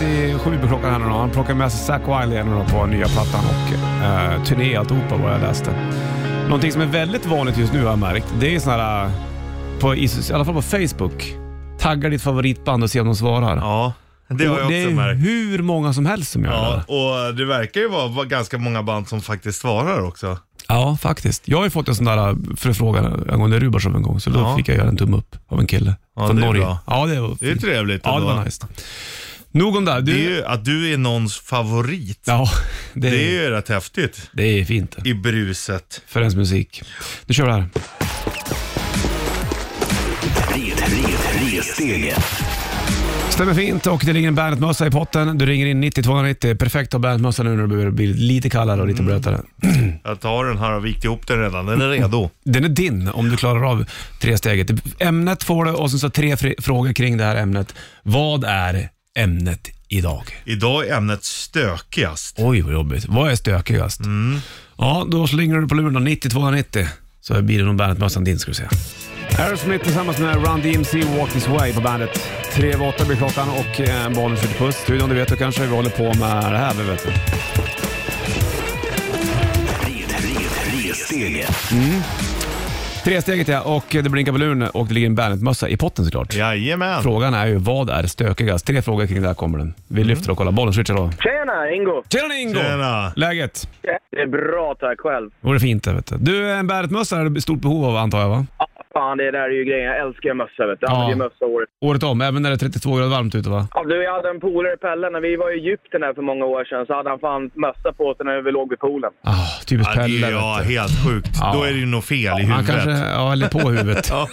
Speaker 2: 7.57 blir klockan här nu då. Han plockar med sig Zack Wiley igen nu då på nya plattan och eh, turné alltihopa vad jag läste. Någonting som är väldigt vanligt just nu har jag märkt, det är sådana här, eh, på, i, i alla fall på Facebook, Tagga ditt favoritband och se om de svarar.
Speaker 3: Ja, det har jag
Speaker 2: Och det
Speaker 3: också
Speaker 2: är
Speaker 3: märkt.
Speaker 2: hur många som helst som gör
Speaker 3: Ja,
Speaker 2: det.
Speaker 3: och det verkar ju vara vara ganska många band som faktiskt svarar också.
Speaker 2: Ja, faktiskt. Jag har ju fått en sån där eh, förfrågan angående Rubarsov en gång, så då
Speaker 3: Ja.
Speaker 2: fick jag göra en tumme upp av en kille
Speaker 3: Ja,
Speaker 2: från
Speaker 3: det är
Speaker 2: Norge.
Speaker 3: bra.
Speaker 2: Ja, det var
Speaker 3: Det är
Speaker 2: fint.
Speaker 3: trevligt
Speaker 2: Ja, det
Speaker 3: ändå.
Speaker 2: var nice. Nog om det. Du,
Speaker 3: Det är ju att du är någons favorit.
Speaker 2: Ja, det,
Speaker 3: Det är
Speaker 2: är,
Speaker 3: ju rätt häftigt
Speaker 2: det är fint
Speaker 3: i bruset.
Speaker 2: för ens musik. Nu kör vi det här.
Speaker 1: Red, red, ressteget.
Speaker 2: Stämmer fint och det ligger en Bandet-mössa i potten. Du ringer in 90-290. Perfekt att ha Bandet-mössa nu när det börjar bli lite kallare och lite blötare.
Speaker 3: Jag tar den här och har vikt ihop den redan. Den är redo.
Speaker 2: Den är din om du klarar av tre steget. Ämnet får du och sen så tre fri- frågor kring det här ämnet. Vad är ämnet idag?
Speaker 3: Idag är ämnet stökigast.
Speaker 2: Oj, vad jobbigt. Vad är stökigast? Ja, då slänger du på luren 90-290 så blir det nog Bandet-mössan din ska du se. Aerosmith tillsammans med Run DMC Walk This Way på bandet. Tre över åtta blir klockan och eh, bollen skjuter puss. Studion, du vet du kanske, vi håller på med det här. vi Vet du.
Speaker 1: Red, red, ressteget.
Speaker 2: Tre steget ja, och eh, det blinkar på luren och det ligger en Bandet-mössa i potten såklart.
Speaker 3: Jajamän.
Speaker 2: Frågan är ju, vad är stökigast? Tre frågor kring det här kommer den. Vi lyfter och kollar. Bollen switchar då.
Speaker 9: Tjena, Ingo!
Speaker 2: Mm. Tjena Ingo!
Speaker 3: Tjena.
Speaker 2: Läget?
Speaker 9: Det är bra, tack själv.
Speaker 2: Vore fint det vet du. Du, en Bandet-mössa är det stort behov av antar jag va?
Speaker 9: Ja, fan, det där är ju grejen. Jag älskar mössa, vet du. Jag använder ju mössa året.
Speaker 2: Året om, även när det är 32 grader varmt ute va?
Speaker 9: Ja, du, jag hade en polare, Pelle, när vi var i Egypten här för många år sedan så hade han fan mössa på sig när vi låg vid poolen.
Speaker 2: Ah, typiskt
Speaker 3: Ja, det
Speaker 2: Pelle.
Speaker 3: är ja,
Speaker 2: vet du.
Speaker 3: helt sjukt.
Speaker 2: Ja.
Speaker 3: Då är det ju något fel i
Speaker 2: Han
Speaker 3: huvudet.
Speaker 2: kanske, ja eller på huvudet.
Speaker 3: Ja.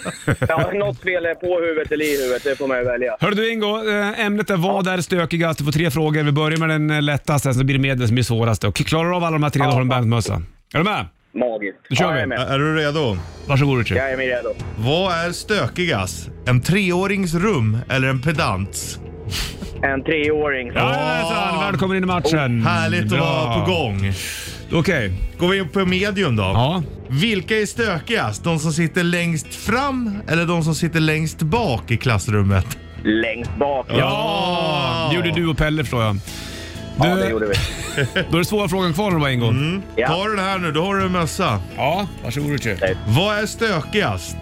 Speaker 9: Ja, något fel är på huvudet eller i huvudet, det får man ju välja.
Speaker 2: Hör du Ingo, eh, ämnet är vad är stökigast? Du får tre frågor. Vi börjar med den eh, lättaste, sen så blir det medel som blir svåraste. Och klarar du av alla de här tre, då har du en Bandet-mössa. Är du med?
Speaker 9: Magiskt.
Speaker 2: Då kör
Speaker 9: ja,
Speaker 2: vi.
Speaker 9: Jag är med.
Speaker 3: Är du redo?
Speaker 2: Varsågod Richard.
Speaker 9: Jag är med redo.
Speaker 3: Vad är stökigast? En treårings rum eller en pedants?
Speaker 9: En treåring.
Speaker 2: Jajamensan, välkommen in i matchen.
Speaker 3: Oh, Härligt att
Speaker 2: Mm, Bra.
Speaker 3: vara på gång.
Speaker 2: Okej.
Speaker 3: Går vi in på medium då?
Speaker 2: Ja.
Speaker 3: Vilka är stökigast? De som sitter längst fram eller de som sitter längst bak i klassrummet?
Speaker 9: Längst bak.
Speaker 2: Ja, det gjorde du och Pelle förstår jag.
Speaker 9: Ja, det
Speaker 2: Du,
Speaker 9: gjorde vi.
Speaker 2: då är det svåra frågan kvar nu bara Ingo.
Speaker 3: Mm.
Speaker 9: Ja.
Speaker 3: Ta den här nu, då har du en mössa.
Speaker 2: Ja, varsågod Richard.
Speaker 3: Vad är stökigast?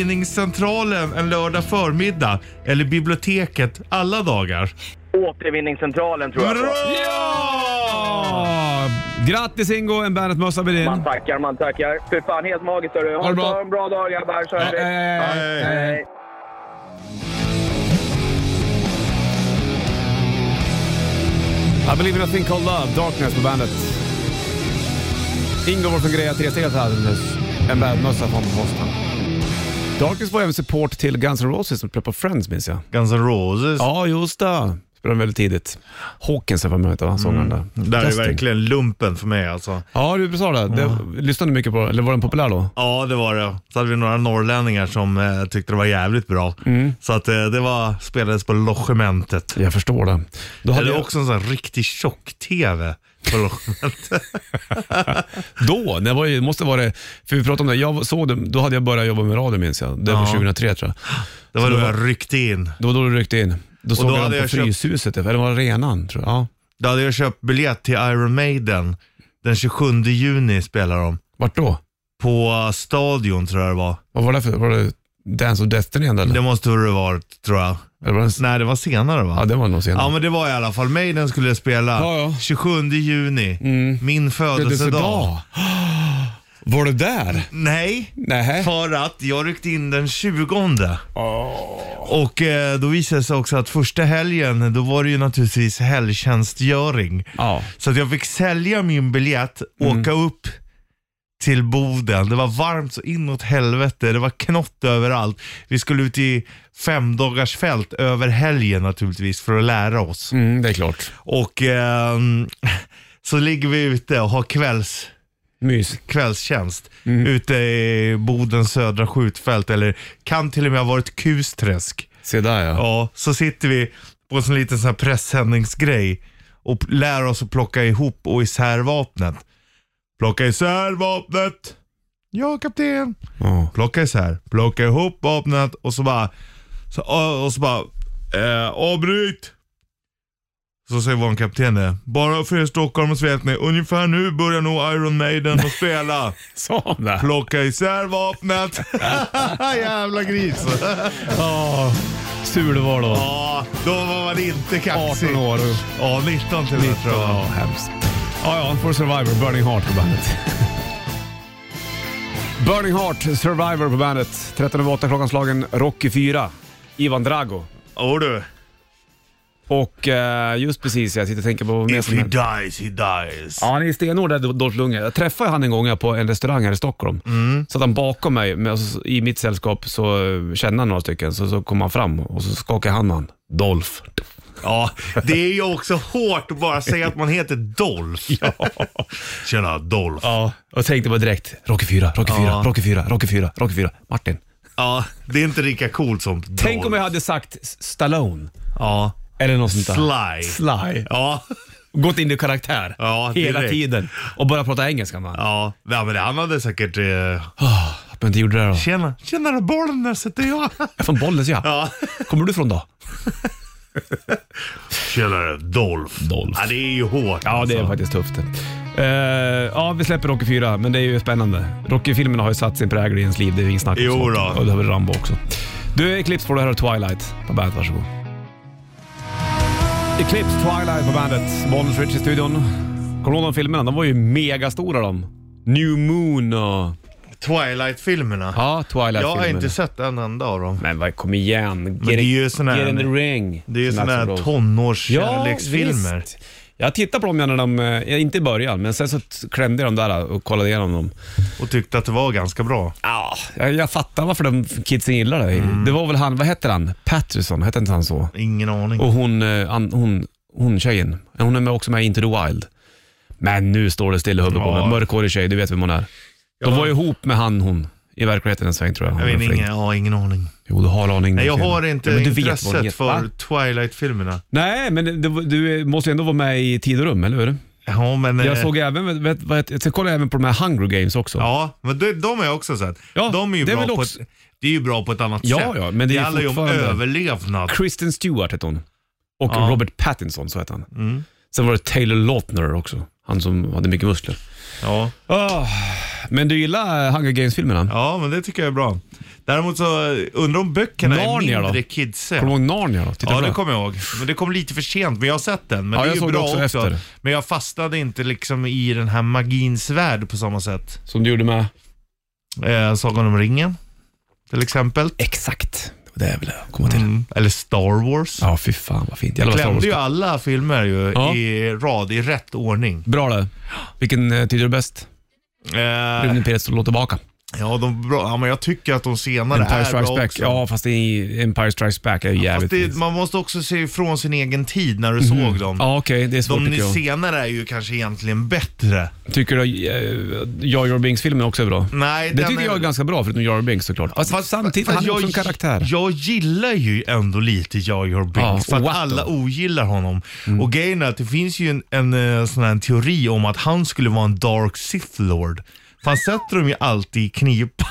Speaker 3: Återvinningscentralen en lördag förmiddag eller biblioteket alla dagar?
Speaker 9: Återvinningscentralen tror jag på.
Speaker 2: Ja! Grattis Ingo, en Bandet-mössa blir din.
Speaker 9: Man tackar, man tackar. Fy fan, helt magiskt hörru.
Speaker 2: Ha
Speaker 9: Ha
Speaker 2: det bra.
Speaker 9: ha en bra dag grabbar, så hörs vi.
Speaker 2: Eh,
Speaker 3: Hej.
Speaker 9: Hej.
Speaker 2: I believe in a thing called love, Darkness på bandet. Ingo var från Greja tresteget här alldeles. En bandmössa från posten. Darkness var även support till Guns N' Roses som spelade på Friends minns jag.
Speaker 3: Guns N' Roses.
Speaker 2: Ja, just det. Mm. Spelade väldigt tidigt. Hawkins var med va? Sångaren där.
Speaker 3: Där är
Speaker 2: Testing.
Speaker 3: verkligen lumpen för mig alltså.
Speaker 2: Ja, du sa det. det lyssnade du mycket på Eller var den populär då?
Speaker 3: Ja, det var det. Så hade vi några norrlänningar som eh, tyckte det var jävligt bra.
Speaker 2: Mm.
Speaker 3: Så att eh, det var, spelades på logementet.
Speaker 2: Jag förstår det. Då hade
Speaker 3: Eller
Speaker 2: jag,
Speaker 3: också en sån här riktig tjock-tv på logementet.
Speaker 2: då, när jag var, i- måste vara det, för vi pratade om det, jag såg det, då hade jag börjat jobba med radio minns jag. Det var
Speaker 3: Ja.
Speaker 2: 2003 tror jag.
Speaker 3: Det var då jag ryckte in.
Speaker 2: Det var då du ryckte in. Då såg
Speaker 3: då
Speaker 2: jag
Speaker 3: hade
Speaker 2: den på
Speaker 3: jag köpt-
Speaker 2: Fryshuset, eller var det Renan tror jag. Ja.
Speaker 3: Då hade jag köpt biljett till Iron Maiden. Den 27 juni spelar de.
Speaker 2: Vart då?
Speaker 3: På Stadion tror jag det var.
Speaker 2: Vad var det för? Var det Dance of Destiny ändå, eller?
Speaker 3: Det måste det ha varit tror jag.
Speaker 2: eller var det...
Speaker 3: Nej, det var senare va?
Speaker 2: Ja, det var nog senare.
Speaker 3: Ja men det var i alla fall Maiden skulle spela
Speaker 2: Ja, ja. Mm.
Speaker 3: 27 juni, min födelsedag.
Speaker 2: Födelsedag. Var det där?
Speaker 3: Nej,
Speaker 2: Nej.
Speaker 3: för att jag ryckte in den 20. Och eh, då visade det sig också att första helgen, då var det ju naturligtvis helgtjänstgöring.
Speaker 2: Ja. Mm.
Speaker 3: Så att jag fick sälja min biljett, åka upp till Boden. Det var varmt så inåt helvete. Det var knott överallt. Vi skulle ut i fem dagars fält över helgen naturligtvis för att lära oss.
Speaker 2: Mm, det är klart.
Speaker 3: Och ehm, så ligger vi ute och har kvälls,
Speaker 2: Mys.
Speaker 3: kvällstjänst ute i Bodens södra skjutfält. Eller kan till och med ha varit Kusträsk.
Speaker 2: Se där ja.
Speaker 3: Ja, så sitter vi på en sån liten sån här pressändningsgrej och p- lär oss att plocka ihop och isär vapnet. Plocka isär vapnet! Ja, kapten!
Speaker 2: Ja.
Speaker 3: Plocka isär, plocka ihop vapnet och så bara, så, och så bara, eh, avbryt! Så säger vår kapten det. Bara för er Stockholm och vet ni, ungefär nu börjar nog Iron Maiden att spela.
Speaker 2: Sa han det?
Speaker 3: Plocka isär vapnet. Jävla gris.
Speaker 2: Sur du var då.
Speaker 3: Ja, då var man inte kaxig.
Speaker 2: 18 år och...
Speaker 3: Ja, 19 till och med tror
Speaker 2: Ja,
Speaker 3: jag.
Speaker 2: hemskt. Ja, ja, For Survivor, Burning Heart på bandet. Burning Heart, Survivor på bandet. 13 över 8 klockan slagen, Rocky 4, Ivan Drago.
Speaker 3: Åh du.
Speaker 2: Och eh, just precis, jag sitter och tänker på vad mer
Speaker 3: If
Speaker 2: som
Speaker 3: he
Speaker 2: händer.
Speaker 3: dies, he dies.
Speaker 2: Ja, han är stenhård där, Dolph Lundgren. Jag träffade han en gång här på en restaurang här i Stockholm. Mm. Satt han bakom mig, men så- i mitt sällskap så eh, kände han några stycken. Så, så kom han fram och så skakade han han. Dolph.
Speaker 3: Ja, det är ju också hårt att bara säga att man heter Dolph. Tjena, Dolph.
Speaker 2: Ja, och tänkte bara direkt, Rocky 4, Rocky 4,
Speaker 3: Ja.
Speaker 2: Rocky 4, Rocky 4, Rocky 4. Martin.
Speaker 3: Ja, det är inte lika coolt som Dolph.
Speaker 2: Tänk om jag hade sagt S- Stallone.
Speaker 3: Ja.
Speaker 2: Eller något sånt där.
Speaker 3: Sly.
Speaker 2: Sly.
Speaker 3: Ja,
Speaker 2: Gått in i karaktär
Speaker 3: Ja,
Speaker 2: hela
Speaker 3: direkt.
Speaker 2: tiden och börjat prata engelska Ah, man.
Speaker 3: ja. ja men han hade säkert... Eh...
Speaker 2: Men det gjorde det då.
Speaker 3: Tjena, tjenare Bollnäs heter jag.
Speaker 2: Från Bollnäs ja.
Speaker 3: Ja.
Speaker 2: Kommer du från då?
Speaker 3: Tjenare Dolph.
Speaker 2: Dolph.
Speaker 3: Ja, det är ju hårt.
Speaker 2: Ja, det är
Speaker 3: alltså.
Speaker 2: faktiskt tufft. Eh, ja, vi släpper Rocky 4, men det är ju spännande. Rocky-filmerna har ju satt sin prägel i ens liv, det är ju inget snack om
Speaker 3: Jo
Speaker 2: sånt.
Speaker 3: då.
Speaker 2: Och det har väl Rambo också. Du, Eclipse får du höra Twilight på bandet, varsågod. Eclipse Twilight på bandet, Bonus Rich i studion. Kommer du ihåg de filmerna? De var ju megastora de. New Moon och...
Speaker 3: Twilight-filmerna.
Speaker 2: Ja,
Speaker 3: jag
Speaker 2: Twilight-filmerna.
Speaker 3: har inte sett en enda av dem.
Speaker 2: Men vad, kom igen. Get,
Speaker 3: det är ju sån här-
Speaker 2: Get in the ring.
Speaker 3: Det är ju
Speaker 2: Som
Speaker 3: sådana
Speaker 2: Axl
Speaker 3: här
Speaker 2: Rose.
Speaker 3: tonårskärleksfilmer.
Speaker 2: Ja, visst. jag tittade på dem när de, eh, inte i början, men sen så t- klämde jag dem där eh, och kollade igenom dem.
Speaker 3: och tyckte att det var ganska bra.
Speaker 2: Ja, jag, jag fattar varför de kidsen gillar det.
Speaker 3: Mm.
Speaker 2: Det var väl han, vad hette han? Patterson, hette inte han så?
Speaker 3: Ingen aning.
Speaker 2: Och hon, eh, an, hon, hon tjejen, hon är med också med i Into the Wild. Men nu står det still i huvudet på
Speaker 3: Ja.
Speaker 2: mig. Mörkhårig tjej, du vet vem hon är. De var ju ihop med han hon i verkligheten en sväng tror jag.
Speaker 3: jag
Speaker 2: Hon
Speaker 3: vet
Speaker 2: är flink.
Speaker 3: ingen, ja, ingen aning.
Speaker 2: Jo, du har aning.
Speaker 3: Nej, jag har inte
Speaker 2: Ja, men du vet vad hon
Speaker 3: intresset
Speaker 2: heter,
Speaker 3: för
Speaker 2: va?
Speaker 3: Twilight-filmerna.
Speaker 2: Nej, men du, du måste ju ändå vara med i tid och rum, eller hur?
Speaker 3: Ja, men...
Speaker 2: Jag
Speaker 3: eh,
Speaker 2: såg även, vet, vet, jag kollade även på de här Hunger Games också.
Speaker 3: Ja, men de, de har jag också sett.
Speaker 2: Ja,
Speaker 3: de är ju
Speaker 2: det är
Speaker 3: bra
Speaker 2: väl
Speaker 3: på
Speaker 2: också-
Speaker 3: ett, det är ju bra på ett annat
Speaker 2: Ja,
Speaker 3: sätt.
Speaker 2: ja, men det är ju
Speaker 3: handlar ju om
Speaker 2: fortfarande-
Speaker 3: överlevnad.
Speaker 2: Kristen Stewart hette hon. Och
Speaker 3: Ja. Mm.
Speaker 2: Robert Pattinson, så hette han. Sen var det Taylor Lautner också. Han som hade mycket muskler.
Speaker 3: Ja.
Speaker 2: Ah, men du gillar eh, Hunger Games-filmerna?
Speaker 3: ja, men det tycker jag är bra. Däremot så eh, undrar om böckerna
Speaker 2: Narnia
Speaker 3: är
Speaker 2: då?
Speaker 3: mindre kidsiga.
Speaker 2: Kommer du ihåg Narnia då? Titta
Speaker 3: Ja,
Speaker 2: på
Speaker 3: det
Speaker 2: den.
Speaker 3: kommer jag ihåg. Men det kom lite för sent, men jag har sett den. Men
Speaker 2: Ja,
Speaker 3: det är
Speaker 2: jag
Speaker 3: ju
Speaker 2: såg det
Speaker 3: bra
Speaker 2: också
Speaker 3: också.
Speaker 2: efter.
Speaker 3: Men jag fastnade inte liksom i den här magins värld på samma sätt.
Speaker 2: Som du gjorde med...
Speaker 3: Eh, Sagan om ringen, till exempel.
Speaker 2: Exakt. Det är väl jag komma till.
Speaker 3: Mm. Eller Star Wars.
Speaker 2: Ja, fy fan vad fint. Jävlar vad Star Wars-
Speaker 3: Klämde ju alla filmer ju
Speaker 2: Ja.
Speaker 3: i rad, i rätt ordning.
Speaker 2: Bra det. Vilken eh, tycker du är bäst?
Speaker 3: Eh,
Speaker 2: Rymden Pires låt tillbaka.
Speaker 3: Ja, de bra. ja, men jag tycker att de senare
Speaker 2: Empire
Speaker 3: är
Speaker 2: Strikes
Speaker 3: bra
Speaker 2: Back.
Speaker 3: också.
Speaker 2: Ja, fast det är Empire Strikes Back är ju
Speaker 3: Fast
Speaker 2: jävligt Mhm.
Speaker 3: det, man måste också se ifrån sin egen tid när du såg dem.
Speaker 2: Ja, okej. Det är svårt
Speaker 3: de
Speaker 2: tycker jag.
Speaker 3: senare är ju kanske egentligen bättre.
Speaker 2: Tycker du att eh, Jar Jar Binks-filmen också är bra?
Speaker 3: Nej,
Speaker 2: Det
Speaker 3: den
Speaker 2: tycker jag är ganska bra, förutom Jar Jar Binks såklart. Fast, samtidigt,
Speaker 3: fast
Speaker 2: han är
Speaker 3: jag
Speaker 2: också en
Speaker 3: gi-
Speaker 2: karaktär.
Speaker 3: Jag gillar ju ändå lite Jar Jar Binks,
Speaker 2: Ja, Mm. och
Speaker 3: för att
Speaker 2: Watto.
Speaker 3: alla ogillar honom. Och grejen är att det finns ju en, en eh, sån här teori om att han skulle vara en Dark Sith Lord. För han sätter dem ju alltid i knipa.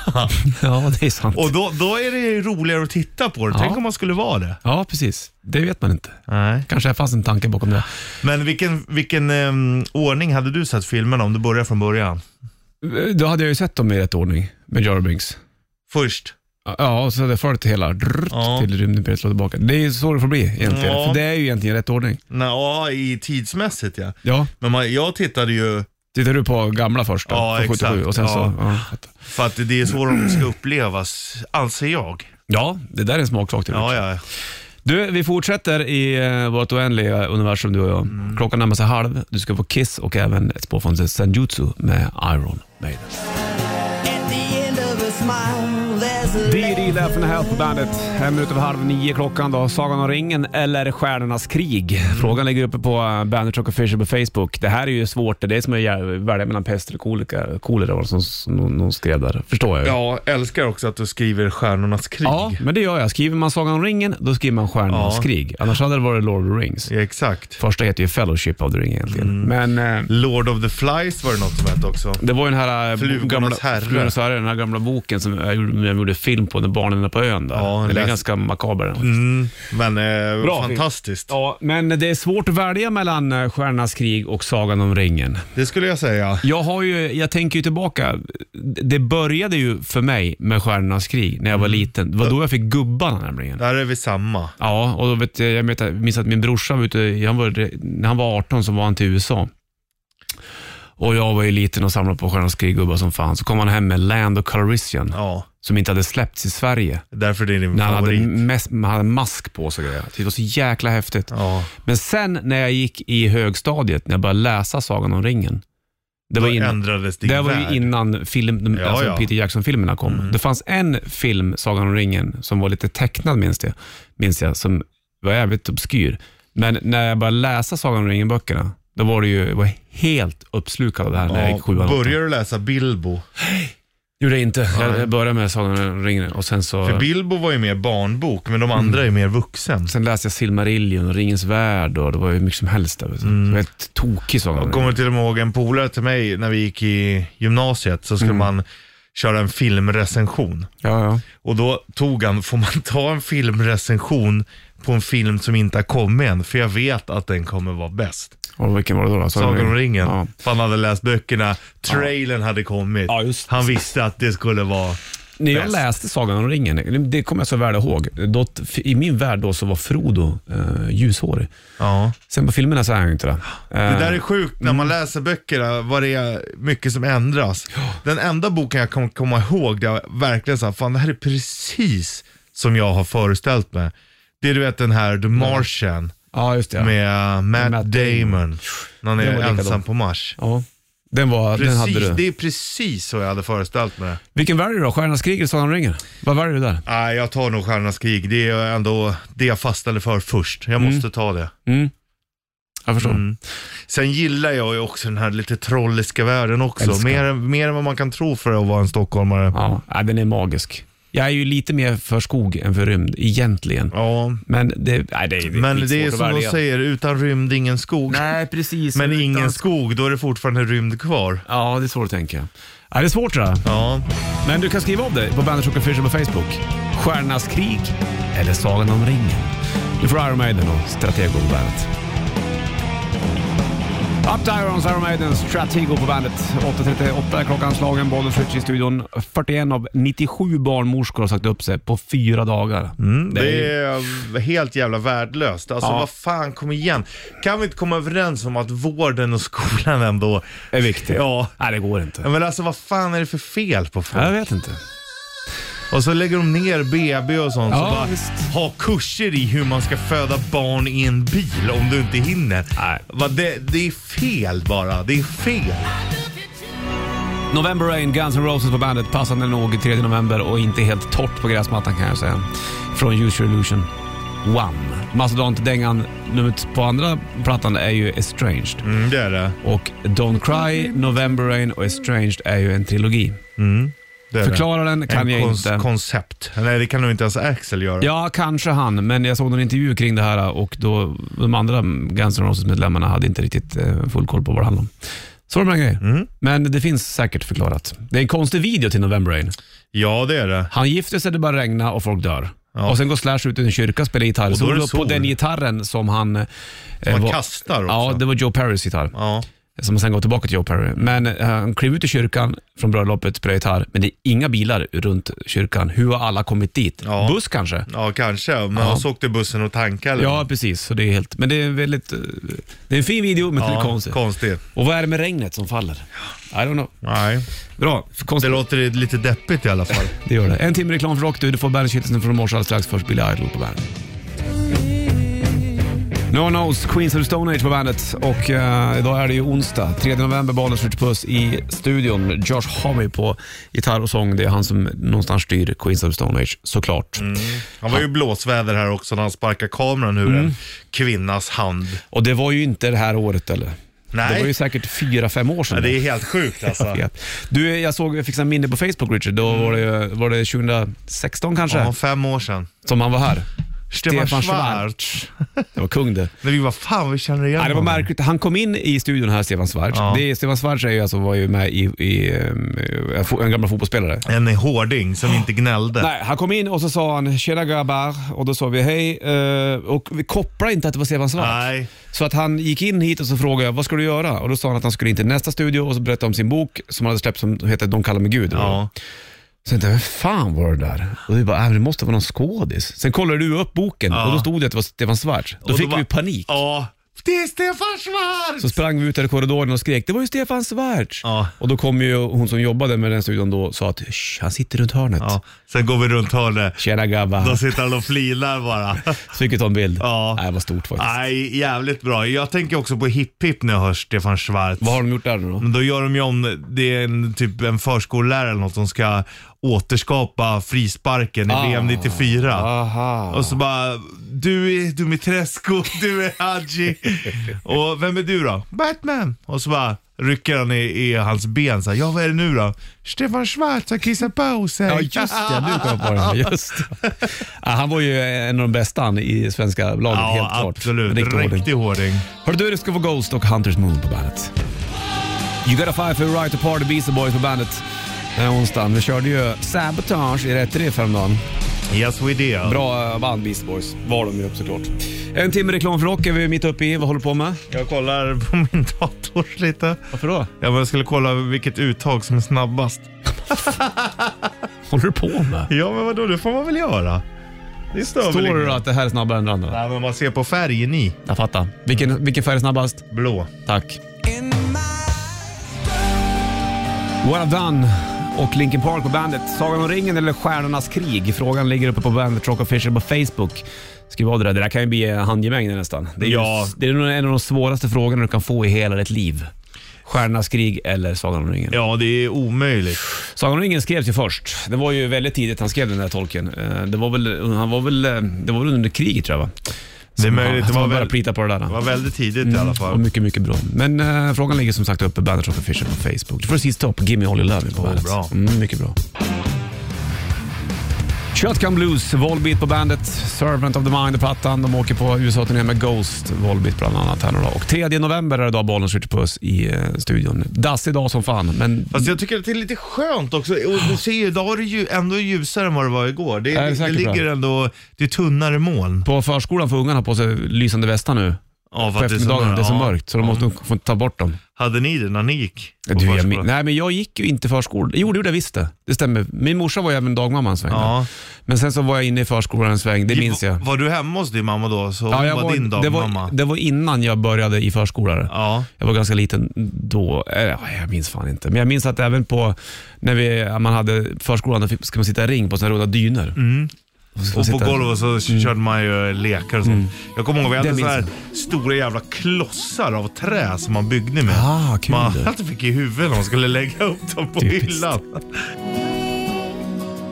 Speaker 2: Ja, det är sant.
Speaker 3: Och då, då är det ju roligare att titta på det.
Speaker 2: Ja.
Speaker 3: Tänk om man skulle vara det.
Speaker 2: Ja, precis. Det vet man inte.
Speaker 3: Nej.
Speaker 2: Kanske det fanns en tanke bakom det.
Speaker 3: Men vilken, vilken ehm, ordning hade du sett filmerna om du börjar från början?
Speaker 2: Då hade jag ju sett dem i rätt ordning med Jar Jar Binks.
Speaker 3: Först?
Speaker 2: Ja, och så hade jag följt hela drrrt,
Speaker 3: Ja.
Speaker 2: till rymdimperiet slår tillbaka. Det är ju så det får bli egentligen.
Speaker 3: Ja.
Speaker 2: För det är ju egentligen rätt ordning.
Speaker 3: Nej, ja, i tidsmässigt ja.
Speaker 2: Ja.
Speaker 3: Men man, jag tittade ju,
Speaker 2: Tittar du på gamla först då?
Speaker 3: Ja,
Speaker 2: från 77,
Speaker 3: exakt.
Speaker 2: Och sen
Speaker 3: Ja.
Speaker 2: Så, ja, fattar.
Speaker 3: för att det är så de ska upplevas, anser jag.
Speaker 2: ja, det där är en smaksak. Ja,
Speaker 3: Ja, ja.
Speaker 2: Du, vi fortsätter i eh, vårt oändliga universum du och jag. Klockan närmar sig halv. Du ska få Kiss och även ett spår från Senjutsu med Iron Maiden. D.D. Laughing Health på bandet. En minut över halv nio klockan då. Sagan om ringen eller Stjärnornas krig? Frågan ligger uppe på eh, Bandet Rock Official på Facebook. Det här är ju svårt. Det är som att jä- välja mellan pest eller kolika- kolera var det som, som någon- någon skrev där. Förstår jag ju.
Speaker 3: Jag älskar också att du skriver Stjärnornas krig.
Speaker 2: Ja, men det gör jag. Skriver man Sagan om ringen, då skriver man Stjärnornas
Speaker 3: Ja.
Speaker 2: krig. Annars hade det varit Lord of the Rings.
Speaker 3: Ja, Mm. exakt.
Speaker 2: Första heter ju Fellowship of the Ring egentligen. Men eh,
Speaker 3: Lord of the Flies var det något som hette också.
Speaker 2: det var ju den här eh,
Speaker 3: Flugornas
Speaker 2: gamla,
Speaker 3: herre.
Speaker 2: Flugornas herre, den här gamla boken som jag gjorde, jag gjorde film på när barnen förhållandena på ön där.
Speaker 3: Ja,
Speaker 2: den är
Speaker 3: läs-
Speaker 2: ganska makaber.
Speaker 3: Mm, men eh,
Speaker 2: Bra,
Speaker 3: fantastiskt.
Speaker 2: Ja, men det är svårt att välja mellan eh, Stjärnornas krig och Sagan om ringen.
Speaker 3: Det skulle jag säga.
Speaker 2: Jag, har ju, jag tänker ju tillbaka. Det började ju för mig med Stjärnornas krig när jag
Speaker 3: Mm.
Speaker 2: var liten. Det var då jag fick gubbarna nämligen.
Speaker 3: Där är vi samma.
Speaker 2: Ja, och då vet jag, jag vet- jag minns att min brorsa var ute, han var, när han var 18 så var han till USA. Och jag var ju liten och samlade på Stjärnornas krig-gubbar som fan. Så kom han hem med Land of Calrissian,
Speaker 3: Ja,
Speaker 2: som inte hade släppts i Sverige.
Speaker 3: därför det är din
Speaker 2: När han hade,
Speaker 3: favorit.
Speaker 2: mes- han hade mask på sig och grejer. Det var så jäkla häftigt.
Speaker 3: Ja.
Speaker 2: Men sen när jag gick i högstadiet, när jag började läsa Sagan om ringen. Det var,
Speaker 3: Då
Speaker 2: innan,
Speaker 3: ändrades din
Speaker 2: det var
Speaker 3: värld.
Speaker 2: ju innan film, de-
Speaker 3: Ja, Mm.
Speaker 2: alltså
Speaker 3: ja.
Speaker 2: Peter Jackson-filmerna kom. Det fanns en film, Sagan om ringen, som var lite tecknad minns jag, minns jag som var jävligt obskyr. Men när jag började läsa Sagan om ringen-böckerna, då var det ju jag var helt uppslukad av det här när jag
Speaker 3: Ja,
Speaker 2: gick sjuan. åttan.
Speaker 3: börjar du läsa Bilbo?
Speaker 2: Gjorde jag inte. Jag, jag började med Sagan om ringen och sen så...
Speaker 3: För Bilbo var ju mer barnbok, men de
Speaker 2: Mm.
Speaker 3: andra är mer vuxen.
Speaker 2: Sen läste jag Silmarillion och Ringens värld och det var ju mycket som helst där. vet du. Det var helt tokig Sagan om
Speaker 3: Jag
Speaker 2: ringen.
Speaker 3: Mm. kommer till och med ihåg en polare till mig när vi gick i gymnasiet så skulle
Speaker 2: Mm.
Speaker 3: man köra en filmrecension.
Speaker 2: Ja, ja.
Speaker 3: Och då tog han, får man ta en filmrecension på en film som inte har kommit än? För jag vet att den kommer vara bäst.
Speaker 2: Och vilken var det då? då?
Speaker 3: Sagan om ringen.
Speaker 2: Ja.
Speaker 3: För han hade läst böckerna, trailern hade kommit.
Speaker 2: Ja, just det.
Speaker 3: han visste att det skulle vara...
Speaker 2: När jag
Speaker 3: Bäst.
Speaker 2: läste Sagan om ringen, det kommer jag så väl ihåg. Då, I min värld då så var Frodo eh, ljushårig.
Speaker 3: Ja.
Speaker 2: Sen på filmerna så är han ju inte det. Eh,
Speaker 3: Det där är sjukt när man läser böckerna, vad det är mycket som ändras. Den enda boken jag kan komma ihåg där jag verkligen sa, fan det här är precis som jag har föreställt mig. Det är du vet den här The Martian
Speaker 2: Ja, just det.
Speaker 3: med eh, Matt,
Speaker 2: Matt Damon.
Speaker 3: Damon. När han är
Speaker 2: Den var likadan.
Speaker 3: ensam på Mars.
Speaker 2: Ja. Den, var, den hade
Speaker 3: Precis,
Speaker 2: du.
Speaker 3: det är precis så jag hade föreställt mig det.
Speaker 2: Vilken väljer du då? Stjärnornas krig eller Sagan om ringen? Vad väljer du där?
Speaker 3: Nej, jag tar nog Stjärnornas krig. Det är ändå det jag fastnade för först. Jag måste ta det.
Speaker 2: Mm. Jag förstår.
Speaker 3: Mm. Sen gillar jag ju också den här lite trolliska världen också.
Speaker 2: Älskar.
Speaker 3: Mer, mer än vad man kan tro för att vara en stockholmare.
Speaker 2: Ja, nej, den är magisk. Jag är ju lite mer för skog än för rymd, egentligen.
Speaker 3: Ja,
Speaker 2: Men det, nej, det, är- det är
Speaker 3: men det är
Speaker 2: skitsvårt att
Speaker 3: som de
Speaker 2: välja.
Speaker 3: säger, utan rymd ingen skog.
Speaker 2: Nej, precis.
Speaker 3: men
Speaker 2: Utan-
Speaker 3: ingen skog, då är det fortfarande rymd kvar.
Speaker 2: Ja, det är svårt att tänka. Ja, det är svårt det där.
Speaker 3: Ja,
Speaker 2: Men du kan skriva om dig på Bandage Rock Official på Facebook. Stjärnornas krig eller Sagan om ringen. Du får Iron Maiden och Stratego på bandet. Up to Irons, Iron Maiden, Stratego på bandet. 8.38 är klockan slagen, Bollen Fritz i studion. 41 av 97 barnmorskor har sagt upp sig på fyra dagar.
Speaker 3: Mm, det är helt jävla värdelöst. Alltså
Speaker 2: Ja.
Speaker 3: vad fan, kom igen. Kan vi inte komma överens om att vården och skolan ändå...
Speaker 2: är viktigt.
Speaker 3: Ja.
Speaker 2: Nej, det går inte.
Speaker 3: Ja, Men alltså vad fan är det för fel på folk?
Speaker 2: Jag vet inte.
Speaker 3: Och så lägger de ner BB och sånt.
Speaker 2: Ja,
Speaker 3: så bara,
Speaker 2: visst.
Speaker 3: ha kurser i hur man ska föda barn i en bil om du inte hinner.
Speaker 2: Nej.
Speaker 3: Va, det, det är fel bara. Det är fel.
Speaker 2: November Rain, Guns N' Roses på bandet. Passande nog 3 november och inte helt torrt på gräsmattan kan jag säga. Från Use Your Illusion One. Mastodont-dängan numret på andra plattan är ju Estranged.
Speaker 3: Mm, det är det.
Speaker 2: Och Don't Cry, November Rain och Estranged är ju en trilogi.
Speaker 3: det är
Speaker 2: Förklara
Speaker 3: det.
Speaker 2: den kan
Speaker 3: en
Speaker 2: jag
Speaker 3: kons-
Speaker 2: inte.
Speaker 3: koncept. Nej, det kan nog inte ens Axel göra.
Speaker 2: Ja, kanske han, men jag såg någon intervju kring det här och då de andra Guns N' Roses-medlemmarna hade inte riktigt eh, full koll på vad det handlade om. Så de här grejer.
Speaker 3: Mm.
Speaker 2: Men det finns säkert förklarat. Det är en konstig video till November Rain.
Speaker 3: Ja, det är det.
Speaker 2: Han gifter sig, det bara regna och folk dör.
Speaker 3: Ja.
Speaker 2: Och sen går Slash ut i en kyrka och spelar gitarr.
Speaker 3: Och då är det
Speaker 2: Solo på
Speaker 3: sol.
Speaker 2: den gitarren som han... eh,
Speaker 3: Man
Speaker 2: var-
Speaker 3: kastar också.
Speaker 2: Ja, det var Joe Perrys gitarr.
Speaker 3: Ja.
Speaker 2: Som sen går tillbaka till Joe Perry. Men eh, han klev ut ur kyrkan från bröllopet, spelar gitarr. Men det är inga bilar runt kyrkan. Hur har alla kommit dit?
Speaker 3: Ja.
Speaker 2: Buss kanske?
Speaker 3: ja, kanske. Men
Speaker 2: Ja.
Speaker 3: ja. så åkte bussen och tankade. eller?
Speaker 2: Ja, precis. Så det är helt, men det är väldigt... eh, Det är en fin video, men det är
Speaker 3: ja
Speaker 2: konstigt.
Speaker 3: konstigt.
Speaker 2: Och vad är det med regnet som faller? I don't know.
Speaker 3: Nej.
Speaker 2: Bra.
Speaker 3: Det
Speaker 2: Konstigt.
Speaker 3: låter lite deppigt i alla fall.
Speaker 2: Det gör det. En timme reklam för rock du. Du får bandet från morse alldeles strax. Först Billy Idol på bandet. No One Knows, Queens of the Stone Age på bandet. Och eh, idag är det ju onsdag, 3 november, Balens Ritch Puss i studion. Josh Homme på gitarr och sång. Det är han som någonstans styr Queens of the Stone Age, såklart.
Speaker 3: Mm. Han var ju blåsväder här också när han sparkade kameran
Speaker 2: Mm.
Speaker 3: ur en kvinnas hand.
Speaker 2: Och det var ju inte det här året eller?
Speaker 3: Nej.
Speaker 2: Det var ju säkert fyra fem år sedan.
Speaker 3: Ja, Det är helt sjukt alltså.
Speaker 2: Jag vet. Du, jag såg, jag fick en
Speaker 3: Mm.
Speaker 2: minne på Facebook Richard. Då var det, var det 2016 kanske,
Speaker 3: Ja, fem år sedan.
Speaker 2: som han var här.
Speaker 3: Stefan,
Speaker 2: Stefan
Speaker 3: Schwarz.
Speaker 2: Det var kung det.
Speaker 3: När vi var fan vi känner igen
Speaker 2: Nej, det var
Speaker 3: honom.
Speaker 2: märkligt. Han kom in i studion här, Stefan Schwarz.
Speaker 3: Ja.
Speaker 2: Det, Stefan Schwarz är ju alltså, var ju med i, i ehm, eh, fo- en gammal fotbollsspelare.
Speaker 3: En hårding som inte gnällde.
Speaker 2: Nej, han kom in och så sa han “Tjena grabbar” och då sa vi hej eh, och vi kopplade inte att det var Stefan Schwarz.
Speaker 3: Nej.
Speaker 2: Så att han gick in hit och så frågade jag “Vad ska du göra?” och då sa han att han skulle in till nästa studio och så berättade om sin bok som han hade släppt som heter “De kallar mig Gud”.
Speaker 3: Ja.
Speaker 2: Så tänkte jag, vad fan var det där? Och vi bara, äh, men det måste vara någon skådis. Sen kollade du upp boken och då stod det att det var Stefan Schwarz. Då
Speaker 3: Och
Speaker 2: fick
Speaker 3: bara-
Speaker 2: vi panik.
Speaker 3: Ja. Det är Stefan Schwarz!
Speaker 2: Så sprang vi ut här i korridoren och skrek, det var ju Stefan Schwarz.
Speaker 3: Ja.
Speaker 2: Och då kom ju hon som jobbade med den studion då och sa att, "Shh, han sitter runt hörnet.
Speaker 3: Ja. Sen går vi runt hörnet.
Speaker 2: Tjena
Speaker 3: Då
Speaker 2: grabbar.
Speaker 3: sitter han och flinar bara.
Speaker 2: Så fick vi ta en bild.
Speaker 3: Ja.
Speaker 2: Nej, det var stort faktiskt.
Speaker 3: Nej, jävligt bra. Jag tänker också på Hipp Hipp när jag hör Stefan Schwarz.
Speaker 2: Vad har de gjort där nu då?
Speaker 3: Men då gör de ju om, det är en, typ en förskollärare eller något som ska återskapa frisparken i VM 94.
Speaker 2: Ah, Aha.
Speaker 3: Och så bara, du är Dumitrescu, du är Hadji. och vem är du då? Batman. Och så bara rycker han i, i hans ben så här, ja vad är det nu då? Stefan Schwarz har kissat på sig.
Speaker 2: Ja, just det. Nu kom jag på det. Just det. Ja, han var ju en av de bästa han, i svenska laget,
Speaker 3: Ja,
Speaker 2: helt klart.
Speaker 3: absolut.
Speaker 2: Riktig ordning.
Speaker 3: Riktig hårding.
Speaker 2: Hörru du, det ska vara Ghost och Hunters Moon på bandet. You got a fire for a right to party, Beastie Boys på bandet. Den här onsdagen. Vi körde ju Sabotage i rätt riff häromdagen.
Speaker 3: Yes we do.
Speaker 2: Bra eh, band Beastie Boys var de ju såklart. En timme reklam för rock är vi mitt uppe i. Vad håller du på med?
Speaker 3: Jag kollar på min dator lite.
Speaker 2: Varför då?
Speaker 3: Ja, men jag skulle kolla vilket uttag som är snabbast.
Speaker 2: Håller du på med?
Speaker 3: Ja men vadå, det får man väl göra? Det stör
Speaker 2: Står
Speaker 3: väl
Speaker 2: det då
Speaker 3: ingen.
Speaker 2: att det här är snabbare än det andra?
Speaker 3: Nej men man ser på färgen i.
Speaker 2: Jag fattar. Vilken, vilken färg är snabbast?
Speaker 3: Blå.
Speaker 2: Tack. What I've Done och Linkin Park på bandet. Sagan om ringen eller Stjärnornas krig? Frågan ligger uppe på bandet Rock Official på Facebook. Skriv av det där. Det där kan ju bli handgemäng nästan. Det är,
Speaker 3: Ja.
Speaker 2: ju, det är nog en av de svåraste frågorna du kan få i hela ditt liv. Stjärnornas krig eller Sagan om ringen?
Speaker 3: Ja, det är omöjligt.
Speaker 2: Sagan om ringen skrevs ju först. Det var ju väldigt tidigt han skrev den där tolken. Eh, Det var väl, han var väl, eh, det var väl under kriget tror jag va?
Speaker 3: Det är möjligt. Det
Speaker 2: Som
Speaker 3: var,
Speaker 2: han började
Speaker 3: väl,
Speaker 2: plita på det där.
Speaker 3: det var väldigt tidigt i alla fall.
Speaker 2: Och mycket, mycket bra. Men eh, frågan ligger som sagt uppe, Bandet Rock Official på Facebook. Du får sista upp, Gimme All Your Love på bandet.
Speaker 3: bra.
Speaker 2: Mm, mycket bra. Shotgun Blues, Volbeat på bandet, Servant of the Mind-plattan. De åker på USA-turné med Ghost, Volbeat bland annat. Här nu då. och 3 november är det då bollen skjuter puss i eh, studion. Dass idag som fan, men
Speaker 3: Fast jag tycker att det är lite skönt också. Och du ser ju, idag är det ju ändå ljusare än vad det var igår. Det,
Speaker 2: Är det
Speaker 3: det,
Speaker 2: säkert
Speaker 3: ligger
Speaker 2: bra?
Speaker 3: ändå, det är tunnare moln.
Speaker 2: på förskolan får ungarna på sig lysande västar nu.
Speaker 3: Ja,
Speaker 2: På eftermiddagen, det är så mörkt, så de måste nog få ta bort dem.
Speaker 3: Hade ni det när ni gick? på
Speaker 2: Du, jag,
Speaker 3: förskolan?
Speaker 2: min- nej, men jag gick ju inte förskolan. Jo, det gjorde jag visst det. Det stämmer. Min morsa var ju även dagmamma en sväng.
Speaker 3: Ja.
Speaker 2: Men sen så var jag inne i förskolan en sväng, det minns jag.
Speaker 3: Var du hemma hos din mamma då? Så
Speaker 2: Ja,
Speaker 3: hon
Speaker 2: jag
Speaker 3: var, din
Speaker 2: det,
Speaker 3: dagmamma?
Speaker 2: var, det var innan jag började i förskolan.
Speaker 3: Ja.
Speaker 2: Jag var ganska liten då. Eh, ja, Jag minns fan inte. Men jag minns att även på när vi, man hade förskolan, då fick- ska man sitta i ring på sådana runda dynor. Och, så ska man
Speaker 3: Mm. Och på
Speaker 2: sitta- Mm.
Speaker 3: golvet så körde man ju eh, lekar och sånt. Jag kommer ihåg vi
Speaker 2: Det
Speaker 3: hade så
Speaker 2: minns
Speaker 3: här stora jävla klossar av trä som man byggde med.
Speaker 2: Ah, kul.
Speaker 3: man alltid fick i huvudet när man skulle lägga upp dem på
Speaker 2: Typiskt.
Speaker 3: hyllan.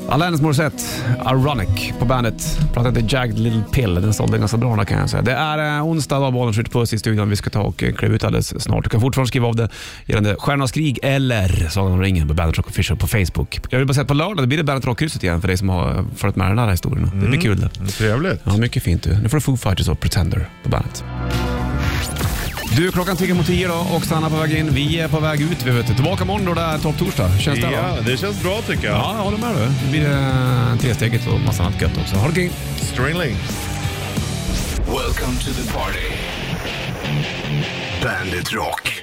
Speaker 2: Alanis Morissette, Ironic på bandet. Plattan heter Jagged Little Pill. Den sålde ganska bra den här, kan jag säga. Det är eh, onsdag, då bollen skjuter puss i studion. Vi ska ta och eh, kliva ut alldeles snart. Du kan fortfarande skriva av det gällande Stjärnornas krig eller Sagan om ringen på Bandet Rock Official på Facebook. Jag vill bara säga att på lördag då blir det Bandet Rockhuset igen för dig som har eh, följt med den här historien. Det blir kul det.
Speaker 3: Trevligt.
Speaker 2: Ja, mycket fint du. Nu får du Foo Fighters och Pretender på bandet. Du, klockan tickar mot tio då och Sanna på väg in. Vi är på väg ut. Vi vet. Tillbaka imorgon då det är topptorsdag. Känns det? va?
Speaker 3: Ja, det känns bra tycker jag.
Speaker 2: Ja, jag håller med dig. Det blir eh, tresteget och massa annat gött också. Ha det gött.
Speaker 3: Stringling.
Speaker 5: Welcome to the party. Bandit Rock.